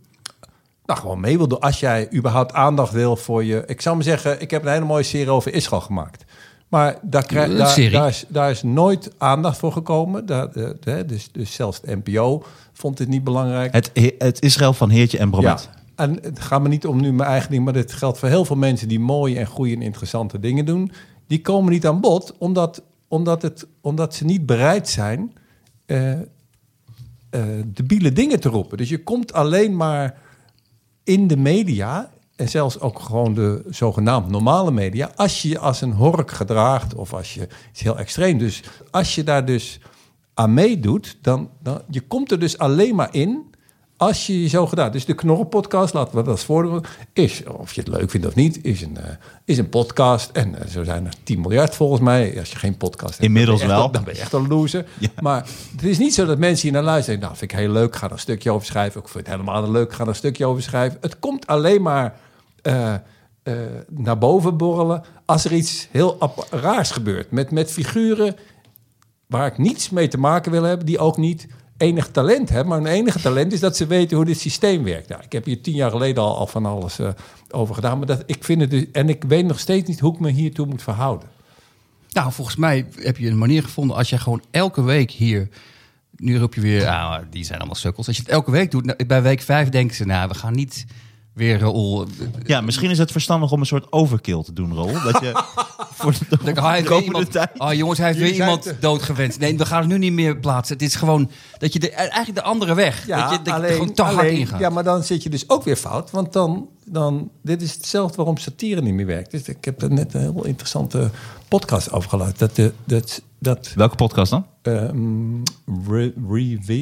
Nou, gewoon mee wil doen. Als jij überhaupt aandacht wil voor je... Ik zou maar zeggen, ik heb een hele mooie serie over Israël gemaakt. Maar daar, krijg,
Een
daar,
serie?
daar, is, daar is nooit aandacht voor gekomen. Daar, eh, hè, dus, dus zelfs de NPO vond dit niet belangrijk.
Het, het Israël van Heertje en
ja.
Bromet.
En het gaat me niet om nu mijn eigen ding... maar dit geldt voor heel veel mensen die mooie en goede en interessante dingen doen. Die komen niet aan bod omdat, omdat, het, omdat ze niet bereid zijn... eh, eh, debiele dingen te roepen. Dus je komt alleen maar in de media en zelfs ook gewoon de zogenaamd normale media, als je je als een hork gedraagt of als je iets heel extreem. Dus als je daar dus aan meedoet, dan, dan je komt er dus alleen maar in als je je zo gedaan. Dus de Knorren-podcast, laten we dat als voordeel is, of je het leuk vindt of niet, is een, eh, is een podcast. En eh, zo zijn er 10 miljard volgens mij. Als je geen podcast hebt,
Inmiddels
dan ben je
wel.
echt een- Dan ben je echt een loser. Maar het is niet zo dat mensen hier naar luisteren. en denken, Nou, vind ik heel leuk, ga er een stukje over schrijven. Ik vind het helemaal niet leuk, ga er een stukje over schrijven. Het komt alleen maar eh, eh, naar boven borrelen als er iets heel ap- raars gebeurt. Met, met figuren waar ik niets mee te maken wil hebben, die ook niet enig talent hebben. Maar hun enige talent is dat ze weten hoe dit systeem werkt. Nou, ik heb hier tien jaar geleden al, al van alles eh, over gedaan. Maar dat, ik vind het dus, en ik weet nog steeds niet hoe ik me hiertoe moet verhouden.
Nou, volgens mij heb je een manier gevonden als je gewoon elke week hier. Nu roep je weer, ah, die zijn allemaal sukkels. Als je het elke week doet, nou, bij week vijf denken ze, nou, we gaan niet weer Raoul.
Ja, misschien is het verstandig om een soort overkill te doen, Rol. Dat je voor de,
Dan kan hij heeft weer
komende
iemand,
tijd...
oh jongens, hij heeft weer
Jullie zijn
iemand doodgewenst. Nee, we gaan het nu niet meer plaatsen. Het is gewoon dat je de, eigenlijk de andere weg. dat je, dat je er gewoon te hard
alleen-
in gaat.
Ja, maar dan zit je dus ook weer fout. Want dan, dan dit is hetzelfde waarom satire niet meer werkt. Dus ik heb er net een heel interessante podcast over geluisterd. Dat, de, dat, dat
Welke podcast dan?
ehm, re-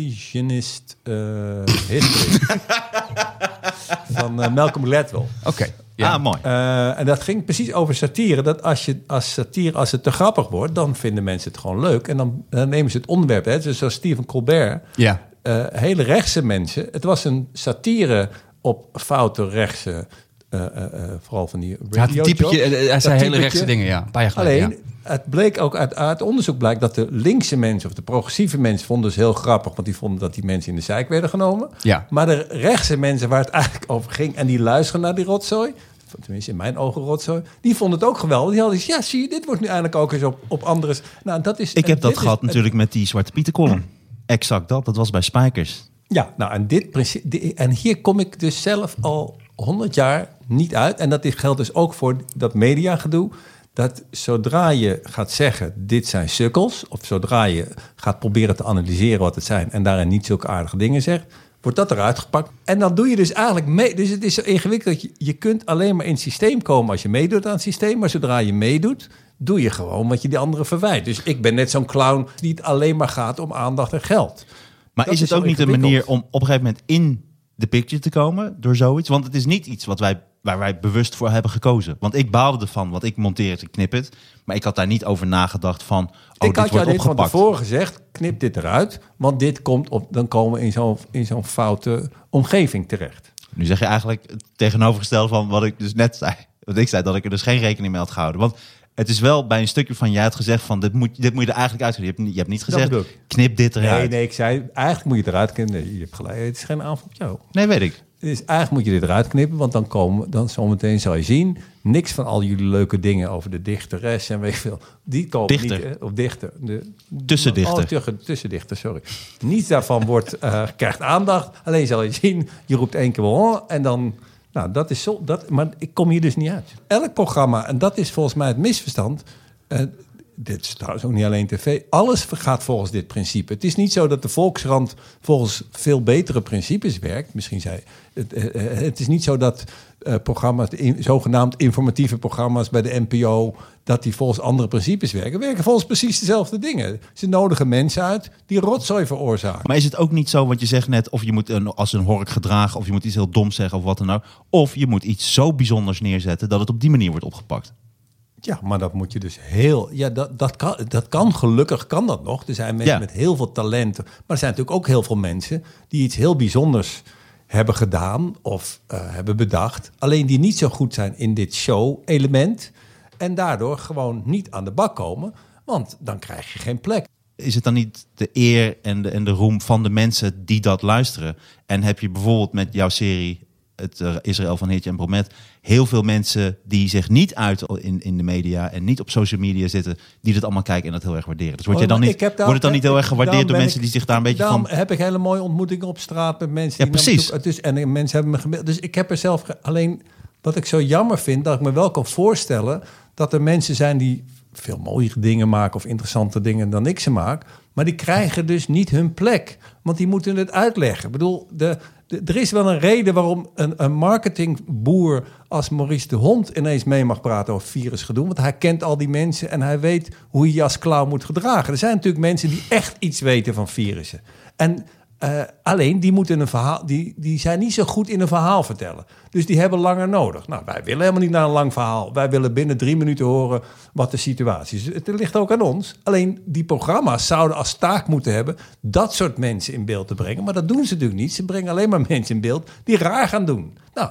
revisionist eh, history van eh, Malcolm Gladwell.
Oké. ja.
Ah, mooi.
Eh, en dat ging precies over satire. Dat als, je, als satire, als het te grappig wordt, dan vinden mensen het gewoon leuk. En dan, dan nemen ze het onderwerp. Hè. Dus zoals Stephen Colbert.
Ja.
Eh, hele rechtse mensen. Het was een satire op foute rechtse. eh, eh, eh, vooral van die
Hij had een
radiojob.
typetje, eh, hij
Dat
zei hele
typetje.
rechtse dingen, ja. Een paar jaar geleden.
Alleen,
ja.
het bleek ook uit, uit onderzoek blijkt dat de linkse mensen of de progressieve mensen vonden het heel grappig, want die vonden dat die mensen in de zeik werden genomen.
Ja.
Maar de rechtse mensen waar het eigenlijk over ging en die luisteren naar die rotzooi, tenminste in mijn ogen rotzooi, die vonden het ook geweldig. Die hadden zoiets, ja, zie je, dit wordt nu eigenlijk ook eens op, op andere. Nou, dat is.
Ik heb
en
dat
dit
gehad
is-
natuurlijk met die Zwarte Pieten column. Exact dat. Dat was bij Spijkers.
Ja, nou, en dit principe. di- En hier kom ik dus zelf al 100 jaar niet uit. En dat geldt dus ook voor dat mediagedoe. Dat zodra je gaat zeggen: dit zijn sukkels. of zodra je gaat proberen te analyseren wat het zijn. en daarin niet zulke aardige dingen zegt. wordt dat eruit gepakt. En dan doe je dus eigenlijk mee. Dus het is zo ingewikkeld. dat Je, je kunt alleen maar in het systeem komen als je meedoet aan het systeem. maar zodra je meedoet. doe je gewoon wat je die anderen verwijt. Dus ik ben net zo'n clown die het alleen maar gaat om aandacht en geld.
Maar
Dat
is het
is
ook
zo
niet een manier
ingewikkeld.
om op een gegeven moment in de picture te komen door zoiets? Want het is niet iets wat wij, waar wij bewust voor hebben gekozen. Want ik baalde ervan, want ik monteer het, ik knip het. Maar ik had daar niet over nagedacht van, oh,
ik
dit
had jou
wordt
dit van
opgepakt.
tevoren gezegd, knip dit eruit. Want dit komt op, dan komen we in zo'n in zo'n foute omgeving terecht.
Nu zeg je eigenlijk het tegenovergestelde van wat ik dus net zei. Want ik zei dat ik er dus geen rekening mee had gehouden. Want het is wel bij een stukje van, jij had gezegd van, dit moet, dit moet je er eigenlijk uit. Je hebt, niet- je hebt niet gezegd,
bedoel ik.
knip dit eruit.
Nee, nee, ik zei, eigenlijk moet je het eruit knippen. Nee, je hebt gelijk, het is geen aanval op jou.
nee weet ik.
Dus eigenlijk moet je dit eruit knippen, want dan komen, dan zometeen zal je zien, niks van al jullie leuke dingen over de dichteres en weet ik veel. Die komen
Dichter.
niet eh, op dichter. De,
Tussendichter.
Oh, tussen- tussendichter, sorry. Niets daarvan wordt, eh, krijgt aandacht. Alleen zal je zien, je roept één keer wel en dan, nou dat is zo, dat, maar ik kom hier dus niet uit. Elk programma, en dat is volgens mij het misverstand, eh, dit is trouwens ook niet alleen tv. Alles gaat volgens dit principe. Het is niet zo dat de Volksrand volgens veel betere principes werkt. Misschien zij. Het, eh, eh, het is niet zo dat eh, programma's, de in- zogenaamd informatieve programma's bij de NPO, dat die volgens andere principes werken. Werken volgens precies dezelfde dingen. Ze nodigen mensen uit die rotzooi veroorzaken.
Maar is het ook niet zo, want je zegt net, of je moet een, als een hork gedragen, of je moet iets heel doms zeggen of wat dan ook. Of je moet iets zo bijzonders neerzetten dat het op die manier wordt opgepakt.
Ja, maar dat moet je dus heel. Ja, dat, dat, kan, dat kan gelukkig kan dat nog. Er zijn mensen
Ja.
met heel veel talent. Maar er zijn natuurlijk ook heel veel mensen die iets heel bijzonders hebben gedaan of eh, hebben bedacht. Alleen die niet zo goed zijn in dit show-element. En daardoor gewoon niet aan de bak komen. Want dan krijg je geen plek.
Is het dan niet de eer en de, en de roem van de mensen die dat luisteren? En heb je bijvoorbeeld met jouw serie, het eh, Israël van Heertje en Bromet, heel veel mensen die zich niet uiten in, in de media en niet op social media zitten, die dat allemaal kijken en dat heel erg waarderen. Dus wordt,
Oh,
je dan
maar
niet,
ik heb daar-
wordt het dan niet heel erg
ik-
gewaardeerd
daarom
door
ben
mensen
ik-
die zich daar een beetje
daarom
van...
heb ik hele mooie ontmoetingen op straat met mensen.
Ja,
die naar me
precies.
toe- Dus het is, en de mensen hebben me gemeld. Dus ik heb er zelf... ge- Alleen wat ik zo jammer vind, dat ik me wel kan voorstellen... dat er mensen zijn die veel mooie dingen maken... of interessante dingen dan ik ze maak. Maar die krijgen dus niet hun plek. Want die moeten het uitleggen. Ik bedoel, de... D- Er is wel een reden waarom een, een marketingboer als Maurice de Hond ineens mee mag praten over virusgedoe. Want hij kent al die mensen en hij weet hoe je je als clown moet gedragen. Er zijn natuurlijk mensen die echt iets weten van virussen. En eh, alleen die, moeten een verhaal, die, die zijn niet zo goed in een verhaal vertellen. Dus die hebben langer nodig. Nou, wij willen helemaal niet naar een lang verhaal. Wij willen binnen drie minuten horen wat de situatie is. Het ligt ook aan ons. Alleen die programma's zouden als taak moeten hebben dat soort mensen in beeld te brengen. Maar dat doen ze natuurlijk niet. Ze brengen alleen maar mensen in beeld die raar gaan doen. Nou,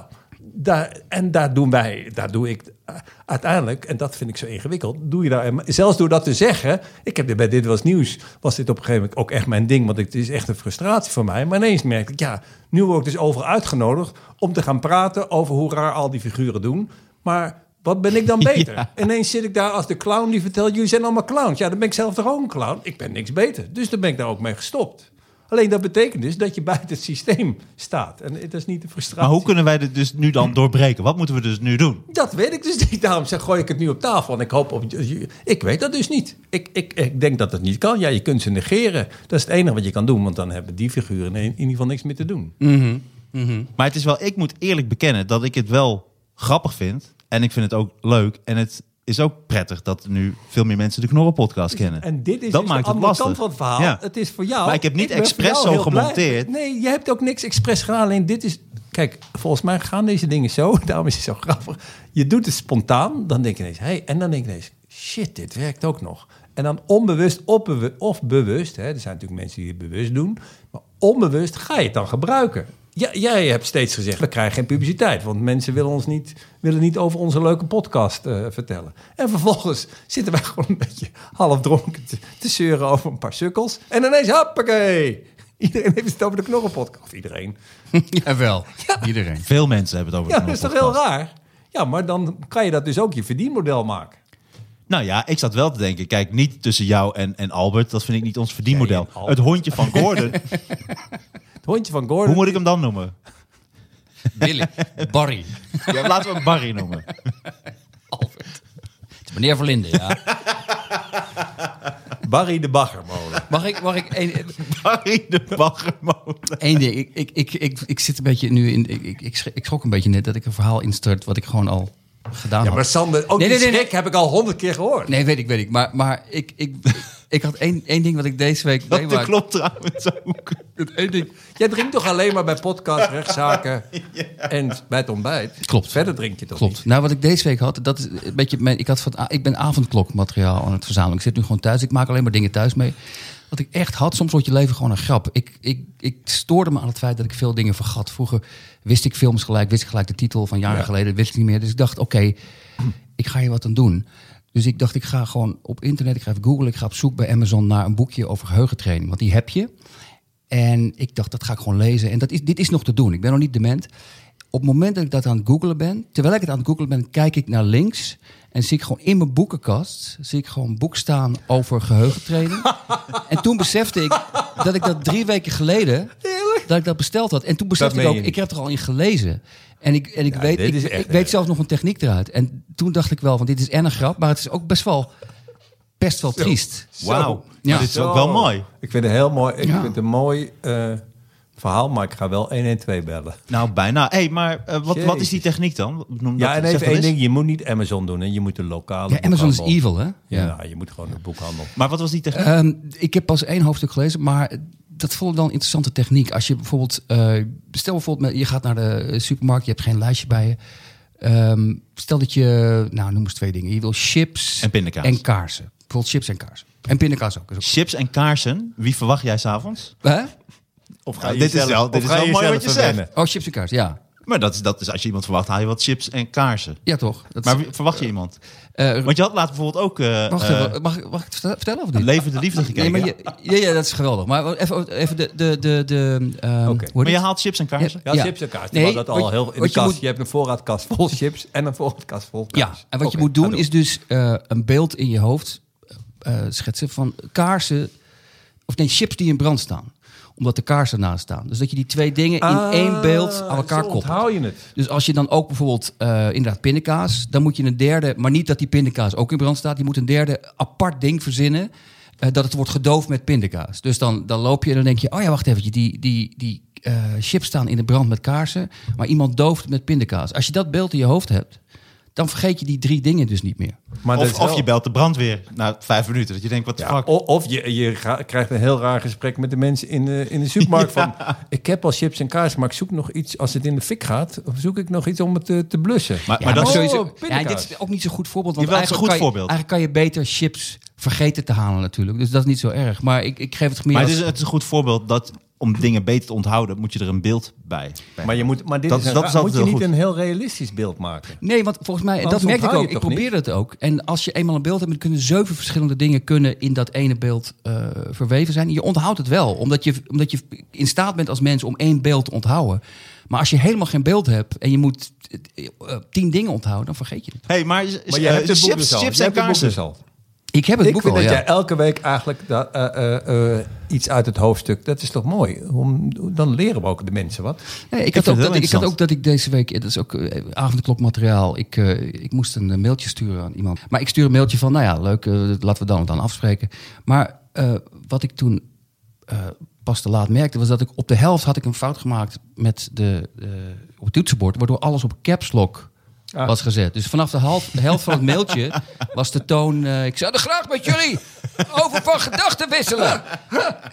daar, en daar doen wij, daar doe ik eh, uiteindelijk, en dat vind ik zo ingewikkeld, doe je daar, zelfs door dat te zeggen, ik heb dit bij Dit Was Nieuws, was dit op een gegeven moment ook echt mijn ding, want het is echt een frustratie voor mij. Maar ineens merkte ik, ja, nu word ik dus overal uitgenodigd om te gaan praten over hoe raar al die figuren doen. Maar wat ben ik dan beter? Ineens zit ik daar als de clown die vertelt, jullie zijn allemaal clowns. Ja, dan ben ik zelf toch ook een clown? Ik ben niks beter. Dus dan ben ik daar ook mee gestopt. Alleen dat betekent dus dat je buiten het systeem staat. En het is niet de frustratie.
Maar hoe kunnen wij dit dus nu dan doorbreken? Wat moeten we dus nu doen?
Dat weet ik dus niet. Daarom zeg, gooi ik het nu op tafel. En ik hoop op. Ik weet dat dus niet. Ik, ik, ik denk dat het niet kan. Ja, je kunt ze negeren. Dat is het enige wat je kan doen. Want dan hebben die figuren in, in ieder geval niks meer te doen.
Mm. Maar het is wel, ik moet eerlijk bekennen dat ik het wel grappig vind. En ik vind het ook leuk. En het is ook prettig dat nu veel meer mensen de Knorren podcast kennen.
En dit is
dat
dus
maakt
de
het
andere
lastig.
kant van het verhaal.
Ja.
Het is voor jou.
Maar ik heb niet
ben voor
expres
jou
zo
heel blij.
gemonteerd.
Nee, je hebt ook niks expres gedaan. Alleen dit is. Kijk, volgens mij gaan deze dingen zo. Daarom is het zo grappig. Je doet het spontaan. Dan denk je ineens. Hey, en dan denk je ineens. Shit, dit werkt ook nog. En dan onbewust opbewu- of bewust. Hè, er zijn natuurlijk mensen die het bewust doen. Maar onbewust ga je het dan gebruiken. Ja, jij hebt steeds gezegd, we krijgen geen publiciteit. Want mensen willen ons niet, willen niet over onze leuke podcast eh, vertellen. En vervolgens zitten wij gewoon een beetje half dronken te, te zeuren over een paar sukkels. En ineens, hoppakee! Iedereen heeft het over de knorrenpodcast. Of iedereen.
Jawel, iedereen.
Veel mensen hebben het over
Ja,
de
dat is toch heel
Knorrenpodcast.
raar? Ja, maar dan kan je dat dus ook je verdienmodel maken.
Nou ja, ik zat wel te denken. Kijk, niet tussen jou en, en Albert. Dat vind ik niet ons verdienmodel.
Nee, Albert.
het hondje van Gordon.
Het hondje van
hoe
Gordon.
moet ik hem dan noemen?
Willy, Barry,
Ja, laten we hem Barry noemen.
Albert. Het is meneer Verlinden, ja.
Barry de Baggermolen.
Mag ik, mag ik één,
Barry de Baggermolen.
één ding? Ik, ik, ik, ik, ik zit een beetje nu in... Ik, ik, ik, schrik, ik schrok een beetje net dat ik een verhaal instort wat ik gewoon al gedaan
Ja,
had.
maar Sander, ook
Nee,
die
nee, nee,
schrik heb ik al honderd keer gehoord.
Nee, weet ik, weet ik. Maar, maar ik, ik, ik had één, één ding wat ik deze week
Dat
meemaakte.
klopt trouwens ook.
Het één ding.
Jij drinkt toch alleen maar bij podcast, rechtszaken en bij het ontbijt?
Klopt.
Verder drink je toch
Klopt. Nou, wat ik deze week had, dat is een beetje mijn, ik, had van, ah, ik ben avondklokmateriaal aan het verzamelen. Ik zit nu gewoon thuis. Ik maak alleen maar dingen thuis mee. Wat ik echt had, soms wordt je leven gewoon een grap. Ik, ik, ik stoorde me aan het feit dat ik veel dingen vergat. Vroeger wist ik films gelijk, wist ik gelijk de titel van jaren geleden, wist ik niet meer. Dus ik dacht, oké, ik ga hier wat aan doen. Dus ik dacht, ik ga gewoon op internet, ik ga even googlen, ik ga op zoek bij Amazon naar een boekje over geheugentraining. Want die heb je. En ik dacht, dat ga ik gewoon lezen. En dat is, dit is nog te doen. Ik ben nog niet dement. Op het moment dat ik dat aan het googelen ben, terwijl ik het aan het googelen ben, kijk ik naar links. En zie ik gewoon in mijn boekenkast, zie ik gewoon een boek staan over geheugentraining. en toen besefte ik dat ik dat drie weken geleden, dat ik dat besteld had. En toen besefte
Dat
ik
meen
ook,
je
ik
niet.
heb er al in gelezen. En ik, en ik,
Ja,
weet,
dit
ik,
is
ik
echt eh,
weet
erg.
zelfs nog een techniek eruit. En toen dacht ik wel, want dit is en een grap, maar het is ook best wel, best wel triest.
Wauw.
Ja.
Ja. Dit is ook wel mooi.
Ik vind het heel mooi. Ik
Ja.
vind het een mooi eh, verhaal, maar ik ga wel 112 bellen.
Nou, bijna. hey, maar eh, wat, wat is die
Jezus.
techniek dan? Noem
Ja,
dat,
en
zeg dat
even één
eens.
ding. Je moet niet Amazon doen en je moet de lokale
Ja, Amazon is
boekhandel.
evil, hè?
Ja, je moet gewoon de boekhandel.
Maar wat was die techniek?
Ehm, ik heb pas één hoofdstuk gelezen, maar dat vond ik wel een interessante techniek. Als je bijvoorbeeld, eh, stel bijvoorbeeld, met- je gaat naar de eh, supermarkt, je hebt geen lijstje bij je. Ehm, stel dat je, nou noem eens twee dingen. Je wil chips
En pindakaas.
En kaarsen. Bijvoorbeeld chips en kaarsen. En pindakaas ook. Is ook-
Chips en kaarsen. Wie verwacht jij s'avonds?
Hè?
Of ga
Ja,
je dit is wel, dit is wel mooi wat je zegt.
Oh, chips en kaarsen, ja.
Maar dat is, dat is, als je iemand verwacht, haal je wat chips en kaarsen.
Ja, toch? Dat is-
Maar wie- verwacht je iemand?
eh,
Want je had laatst bijvoorbeeld ook eh
wacht
eh,
even, mag, mag ik het vertel- vertellen of niet?
Levende Liefde
Nee,
gekeken.
maar
maar, je,
je, ja, ja, dat is geweldig. Maar even, even de... de, de, de ehm, hoe heet het?
haalt chips en kaarsen?
Ja.
Ja, chips en kaas.
Nee,
Nee, dat al
wat-
heel in de
wat je
kast. Je,
moet-
hebt een voorraadkast vol chips en een voorraadkast vol kaas.
Ja, en wat
Oké, nou
je moet
ga
doen is dus eh, een beeld in je hoofd eh, schetsen van kaarsen, of nee, chips die in brand staan. Omdat de kaarsen naast staan. Dus dat je die twee dingen in
Ah,
één beeld aan elkaar
zo
koppelt.
onthoud je het.
Dus als je dan ook bijvoorbeeld eh, inderdaad pindakaas, dan moet je een derde, maar niet dat die pindakaas ook in brand staat. Je moet een derde apart ding verzinnen. eh, dat het wordt gedoofd met pindakaas. Dus dan, dan loop je en dan denk je, oh ja, wacht even, die, die, die eh, chips staan in de brand met kaarsen, maar iemand dooft met pindakaas. Als je dat beeld in je hoofd hebt, dan vergeet je die drie dingen dus niet meer.
Maar dat
Of,
is
of
wel-
je belt de brandweer na vijf minuten. Dat je denkt, wat de
Ja,
fuck.
o- of je, je ga- krijgt een heel raar gesprek met de mensen in de, in de supermarkt. Van, ik heb al chips en kaas, maar ik zoek nog iets. Als het in de fik gaat, zoek ik nog iets om het eh, te, blussen.
Maar,
Ja,
maar dat
maar-
is
Oh,
sowieso- ja,
pindakaas.
dit is ook niet zo'n goed voorbeeld. Want
Jawel, het is een
eigenlijk,
goed
kan je,
voorbeeld.
eigenlijk kan je beter chips vergeten te halen natuurlijk. Dus dat is niet zo erg. Maar ik, ik geef het meer
Maar het
als-
is, het is een goed voorbeeld dat om dingen beter te onthouden, moet je er een beeld bij. bij.
maar je moet, maar dit
Dat
is
is-
een
dat
ra-
is altijd
moet je
heel
niet
goed.
een heel realistisch beeld maken.
Nee, want volgens mij,
Anders
dat merkte ik
onthoud je het
ook.
toch
Ik
niet?
probeerde het ook. En als je eenmaal een beeld hebt, dan kunnen zeven verschillende dingen kunnen in dat ene beeld eh, verweven zijn. Je onthoudt het wel, omdat je, omdat je in staat bent als mens om één beeld te onthouden. Maar als je helemaal geen beeld hebt en je moet eh, eh, tien dingen onthouden, dan vergeet je het.
hey, maar, is-
Maar
eh,
je hebt het boek
chips,
dus al.
chips
Je
en
hebt het boek
kaarsen.
dus al.
Ik heb het
Ik
boek
vind
al,
dat
ja.
jij elke week eigenlijk dat, eh, eh, eh, iets uit het hoofdstuk... Dat is toch mooi? Om, dan leren we ook de mensen wat.
Nee, ik,
vind
had
het
ook dat,
heel
ik had
interessant.
ook dat ik deze week, dat is ook eh, avondklokmateriaal, ik, eh, ik moest een eh, mailtje sturen aan iemand. Maar ik stuur een mailtje van, nou ja, leuk, eh, laten we dan, dan afspreken. Maar eh, wat ik toen eh, pas te laat merkte, was dat ik op de helft had ik een fout gemaakt met de, eh, op het toetsenbord, waardoor alles op caps lock
Ah.
was gezet. Dus vanaf de, half, de helft van het mailtje was de toon, eh, ik zou er graag met jullie over van gedachten wisselen.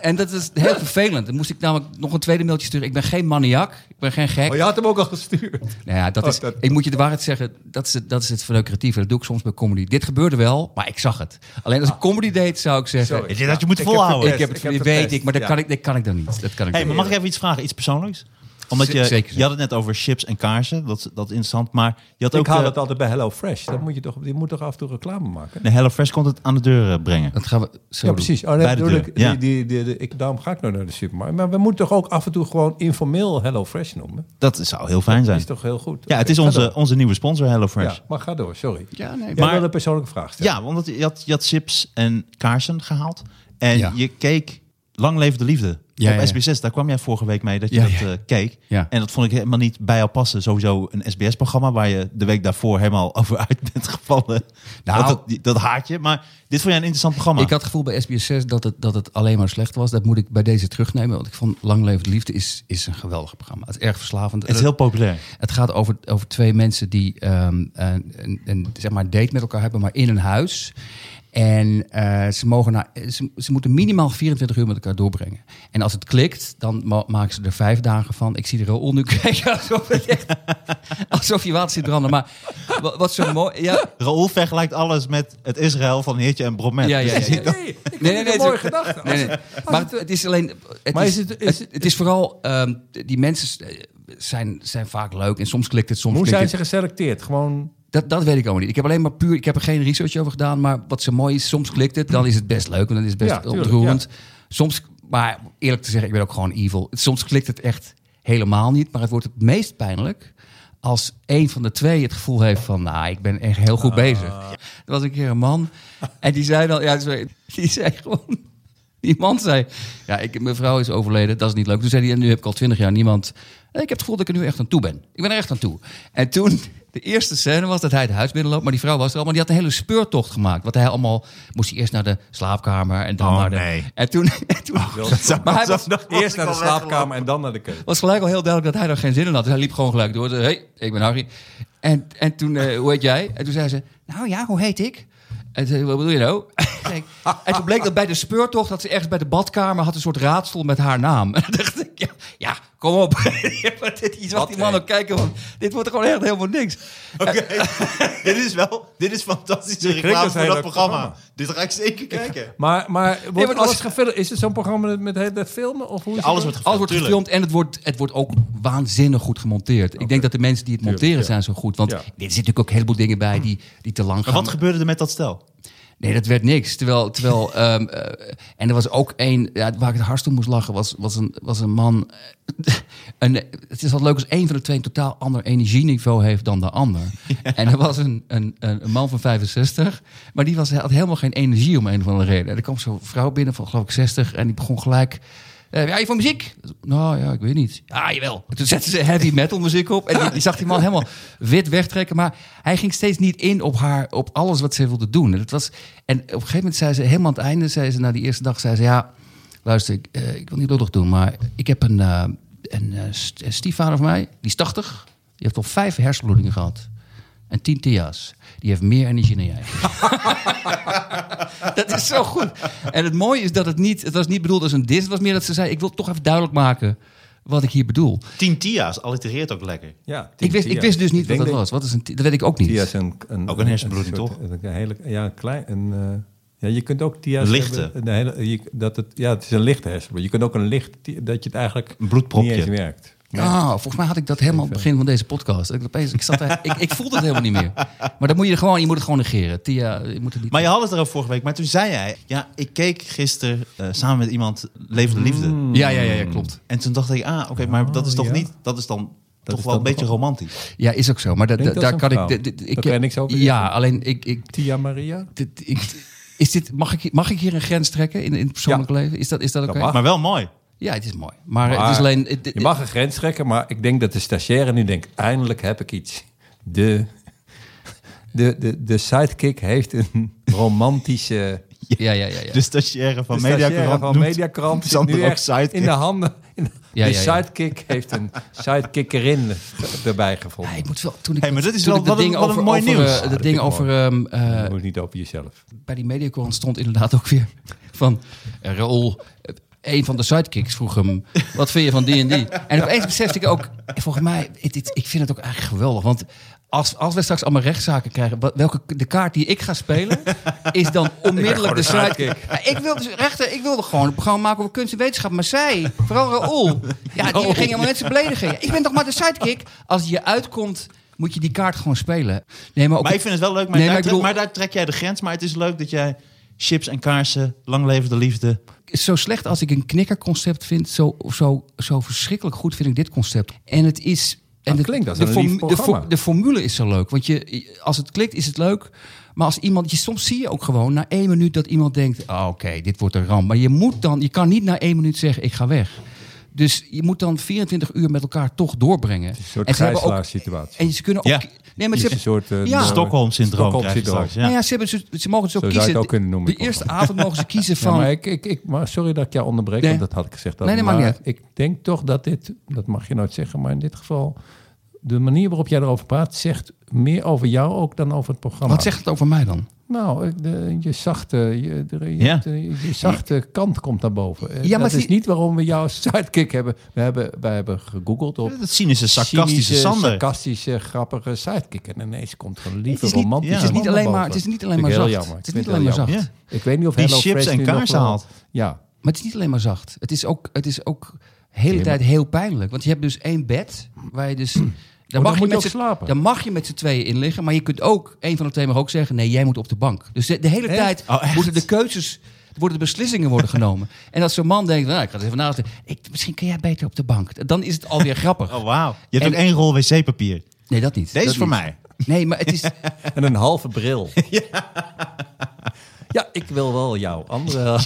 En dat is heel vervelend. Dan moest ik namelijk nog een tweede mailtje sturen. Ik ben geen maniak, ik ben geen gek.
Maar Oh, je had hem ook al gestuurd.
Nou ja, dat
Oh,
is,
dat-
ik moet je de waarheid zeggen, dat is, het- dat is het verneukeratieve. Dat doe ik soms bij comedy. Dit gebeurde wel, maar ik zag het. Alleen als ik comedy deed, zou ik zeggen...
Sorry.
Ik denk dat je moet
Ik heb
volhouden.
Ik heb het,
Ik heb het
weet
verpest.
ik, maar dat,
Ja.
kan ik, dat kan ik dan niet. Dat kan ik
Hey,
dan
maar
niet.
mag ik even iets vragen? Iets persoonlijks? Omdat
Z-
je,
zeker,
je had het net over chips en kaarsen. Dat, dat is interessant. Maar je had
Ik
ook...
haal
eh,
het altijd bij HelloFresh. Dat moet je toch, die moet toch af en toe reclame maken?
de HelloFresh komt het aan de deur eh, brengen.
Dat gaan we zo
Ja,
doen.
precies. Oh,
Bij
nee,
de
bedoel
deur,
ik,
ja.
die, die, die, die- ik, daarom ga ik nou naar de supermarkt. Maar we moeten toch ook af en toe gewoon informeel Hello Fresh noemen?
Dat zou heel fijn
Dat
zijn.
is toch heel goed?
Ja, het is
Oké, ga
onze, onze nieuwe sponsor
door.
HelloFresh.
Ja, maar ga door, sorry.
Ja, nee,
Jij
Maar-
wilde een persoonlijke vraag stellen.
Ja, want je had, je had chips en kaarsen gehaald. En
Ja.
je keek Lang Leef de Liefde
Ja,
op
ja.
SBS6. Daar kwam jij vorige week mee dat je
Ja,
dat
ja.
eh, keek.
Ja.
En dat vond ik helemaal niet bij jou passen. Sowieso een SBS-programma waar je de week daarvoor helemaal over uit bent gevallen.
Nou.
Want dat, die- dat haat je. Maar dit vond jij een interessant programma.
Ik had het gevoel bij SBS6 dat het, dat het alleen maar slecht was. Dat moet ik bij deze terugnemen. Want ik vond Lang Leven de Liefde is, is een geweldig programma. Het is erg verslavend.
Het is heel populair.
Het gaat over, over twee mensen die ehm, een, een, een, zeg maar een date met elkaar hebben, maar in een huis. En eh, ze, mogen na, ze, ze moeten minimaal 24 uur met elkaar doorbrengen. En als het klikt, dan ma- maken ze er vijf dagen van. Ik zie er heel nu kijken, alsof, het echt- alsof je water zit branden. Maar wa- wat zo mooi... Ja,
Raoul vergelijkt alles met het Israël van Heertje en Bromet.
ja, ja,
Dus
ja,
je ziet
ja.
dat-
Nee, ik vind
Nee,
het
nee,
een
nee,
mooie
het-
gedachte.
Nee, nee. Maar
het-
het is alleen. Het
Maar
is,
is het-
het,
is
het,
het-
is vooral. ehm, die mensen eh, zijn, zijn vaak leuk en soms klikt het, soms
Hoe
klikt
zijn
het.
ze geselecteerd? Gewoon...
Dat, dat weet ik allemaal niet. Ik heb alleen maar puur, ik heb er geen research over gedaan. Maar wat zo mooi is, soms klikt het, dan is het best leuk. En dan is het best
Ja, tuurlijk,
ontroerend. Soms, maar eerlijk te zeggen, ik ben ook gewoon evil. Soms klikt het echt helemaal niet. Maar het wordt het meest pijnlijk als een van de twee het gevoel heeft van... nou, ik ben echt heel
Ah.
goed bezig. Er was een keer een man en die zei dan... Ja, sorry, die zei gewoon... Die man zei, ja, ik, mijn vrouw is overleden, dat is niet leuk. Toen zei hij, en nu heb ik al twintig jaar niemand. Eh, Ik heb het gevoel dat ik er nu echt aan toe ben. Ik ben er echt aan toe. En toen, de eerste scène was dat hij het huis binnenloopt, maar die vrouw was er al. Maar die had een hele speurtocht gemaakt. Wat hij allemaal, moest hij eerst naar de slaapkamer en dan
Oh,
naar de...
nee. Oh,
En toen, en toen maar hij was,
Eerst naar de slaapkamer en dan naar de keuken.
was gelijk al heel duidelijk dat hij er geen zin in had. Dus hij liep gewoon gelijk door. Hé, hey, ik ben Harry. En, en toen, eh, hoe heet jij? En toen zei ze, nou ja, hoe heet ik? En toen zei, wat bedoel je nou? Zei ik, en toen bleek dat bij de speurtocht, dat ze ergens bij de badkamer had een soort raadsel met haar naam. En toen dacht ik, ja, ja kom op. Je zag die man ook kijken, van, dit wordt gewoon echt helemaal niks.
Oké, dit is wel, dit is fantastische
klinkt
reclame
als
voor
een
dat
leuk
programma.
programma.
Dit ga ik zeker kijken.
Maar, maar wordt
maar dat
alles
was-
gefilmd? Is het zo'n programma met heel dat filmen? Of hoe is
Ja, alles
het?
wordt gefilmd.
Alles wordt
tuurlijk.
gefilmd en het wordt, het wordt ook waanzinnig goed gemonteerd. Ik denk dat de mensen die het monteren
Tuurlijk, ja.
zijn zo goed. Want
Ja. Hm.
er zitten natuurlijk ook een heleboel dingen bij die, die te lang
Maar
gaan.
wat gebeurde er met dat stel?
Nee, dat werd niks. Terwijl, terwijl ehm, eh, en er was ook één, ja, waar ik het hardst om moest lachen, was, was, een, was een man. eh, een, het is wat leuk als één van de twee een totaal ander energieniveau heeft dan de ander. En er was een, een, een, een man van 65, maar die was, had helemaal geen energie om een of andere reden. En er kwam zo'n vrouw binnen van, geloof ik, 60 en die begon gelijk. eh ja, je van muziek? Nou ja, ik weet niet. Ah, jawel. En Toen zetten ze heavy metal muziek op. En die, die zag die man helemaal wit wegtrekken. Maar hij ging steeds niet in op, haar, op alles wat ze wilde doen. En, dat was, en op een gegeven moment zei ze, helemaal aan het einde, zei ze na die eerste dag, zei ze, ja, luister, ik, eh, ik wil niet lullig doen, maar ik heb een, eh, een eh, st- een stiefvader van mij, die is 80, die heeft al vijf hersenbloedingen gehad. En 10 TA's. Die heeft meer energie dan jij. dat is zo goed. En het mooie is dat het niet, het was niet bedoeld als een dis. Het was meer dat ze zei, ik wil toch even duidelijk maken wat ik hier bedoel.
Tien tia's, allitereert ook lekker.
Ja,
Ik wist, ik wist dus niet wat
dat
dat was. Wat is een ti- dat weet ik ook niet.
Tia is een, een-
Ook een hersenbloeding,
soort-
toch?
Een, hele, ja, een klein. Een, eh, ja, je kunt ook tia's
Een lichte.
hebben, Een hele, je- dat het, ja, het is een lichte hersenbloeding. Je kunt ook een licht ti- dat je het eigenlijk
Een bloedpropje.
niet eens merkt.
Ah, volgens mij had ik dat helemaal aan het begin van deze podcast. Ik, opeens, ik, zat daar, ik, ik voelde het helemaal niet meer. Maar dan moet je, er gewoon, je moet het gewoon negeren. Tia, je moet het niet
Maar je had het erover vorige week, maar toen zei jij... Ja, ik keek gisteren eh, samen met iemand Levende
Hmm.
Liefde.
Ja, ja, ja, ja, klopt.
En toen dacht ik, ah, oké, maar dat is toch
Oh, ja.
niet... Dat is dan toch
is
wel een
dan
beetje
toch-
romantisch.
Ja, is ook zo. Maar da-
Denk
da-
dat
daar
zo'n
kan
vrouw.
ik... d- d-
Daar kan je niks over
Ja, alleen ik... ik,
Tia Maria?
dit- ik- is dit, mag, ik, mag ik hier een grens trekken in, in het persoonlijk
Ja.
leven? Is dat, is dat oké?
mag.
Maar wel mooi.
Ja, het is mooi. Maar,
Maar
het is alleen... het-
je mag een grens trekken, maar ik denk dat de stagiaire nu denkt... eindelijk heb ik iets. De, de, de, de sidekick heeft een romantische...
Ja, ja, ja. ja.
De stagiaire van
de stagiaire
Mediakrant
van
noemt
Mediakrant zit
Sander
nu
ook
echt
sidekick.
in de handen. in de-
Ja,
de
ja, ja.
sidekick heeft een sidekickerin erbij gevonden.
Ja, ik moet wel... Toen ik,
Hey, maar dat is
toen
wel-
ik dat
wat een-
ding
wat een
over,
mooi
over,
nieuws.
eh,
Ja,
dat
dat
ding
vind ik
over...
mooi.
ehm, eh,
Je moet niet over jezelf.
bij die mediacorant stond inderdaad ook weer van eh, Raoul. eh, Een van de sidekicks vroeg hem, wat vind je van die en die? En opeens besefte ik ook, eh, volgens mij, het- het- ik vind het ook eigenlijk geweldig. Want als, als we straks allemaal rechtszaken krijgen, wat- welke, de kaart die ik ga spelen, is dan onmiddellijk de
gewoon de
sidekick. Ja, ik wilde dus rechter, ik wilde gewoon een programma maken over kunst en wetenschap. Maar zij, vooral Raoul, ja, die ging helemaal mensen beledigen. Ja, Ik ben toch maar de sidekick. Als je uitkomt, moet je die kaart gewoon spelen. Nee, maar ook
Maar ik vind het wel leuk, maar,
Nee,
daar
maar ik
trek-
bedoel-
maar daar trek jij de grens. Maar het is leuk dat jij chips en kaarsen, lang levende liefde...
zo slecht als ik een knikkerconcept vind, zo, zo, zo verschrikkelijk goed vind ik dit concept. En het is. En
Dat klinkt als een
formu-
lief
de,
programma.
de formule is zo leuk. Want je, als het klikt, is het leuk. Maar als iemand, je, soms zie je ook gewoon na één minuut dat iemand denkt: "Ah, oké, dit wordt een ramp. Maar je moet dan, je kan niet na één minuut zeggen: ik ga weg. Dus je moet dan 24 uur met elkaar toch doorbrengen.
Een soort
en ze hebben ook-
gijzelaarssituatie.
En ze kunnen ook.
Ja.
Nee, maar ze
Een
hebben-
soort, eh,
Ja.
Stockholm-syndroom krijg je
Stockholm-syndroom.
straks. Ja.
nou ja, ze, hebben, ze, ze mogen
Zo
zo,
zou je
kiezen.
het ook kunnen noemen,
De
ik hoor.
eerste avond mogen ze kiezen
Ja,
van.
maar, ik, ik, ik, maar sorry dat ik jou onderbreek,
Nee.
want dat had ik gezegd. Dat,
Nee, nee, maakt
maar
niet
ik denk toch dat dit, dat mag je nooit zeggen, maar in dit geval, de manier waarop jij erover praat, zegt meer over jou ook dan over het programma.
Wat zegt het over mij dan?
Nou, de, je zachte, je, de- je,
Ja.
de- je zachte kant komt naar boven. Eh,
Ja, maar
dat is
die-
niet waarom we jou als sidekick hebben. We hebben, wij hebben gegoogeld op
Dat cynische, sarcastische
cynische,
Sander.
sarcastische, grappige sidekick. En ineens komt er een lieve,
Het is niet-
romantische
het is
niet
man
alleen maar-
boven.
het is niet alleen
Vind ik
maar
heel
zacht.
jammer.
Het is
Ik
niet
vind het
alleen
heel
maar
jammer. Ik weet niet of
Die
Hello
chips
Fresh
en
nu nog
kaarsen
wel-
haalt.
Ja,
Maar het is niet alleen maar zacht. Het is ook, het is ook de hele
maar-
tijd heel pijnlijk. Want je hebt dus één bed waar je dus... Daar
dan
mag, je
moet je
met
ook
z'n-
slapen.
daar mag je met z'n tweeën in liggen. Maar je kunt ook, één van de twee mag ook zeggen... nee, jij moet op de bank. Dus de, de hele tijd
Oh, echt?
moeten de keuzes... worden de beslissingen worden genomen. en als zo'n man denkt, nou, ik ga het even naast. Ik, misschien kun jij beter op de bank. Dan is het alweer grappig.
Oh, wauw. Je hebt
En-
ook één rol wc-papier.
Nee, dat niet.
Deze
Dat
is voor
niet.
mij.
Nee, maar het is...
En een halve bril. ja. ik wil wel jouw andere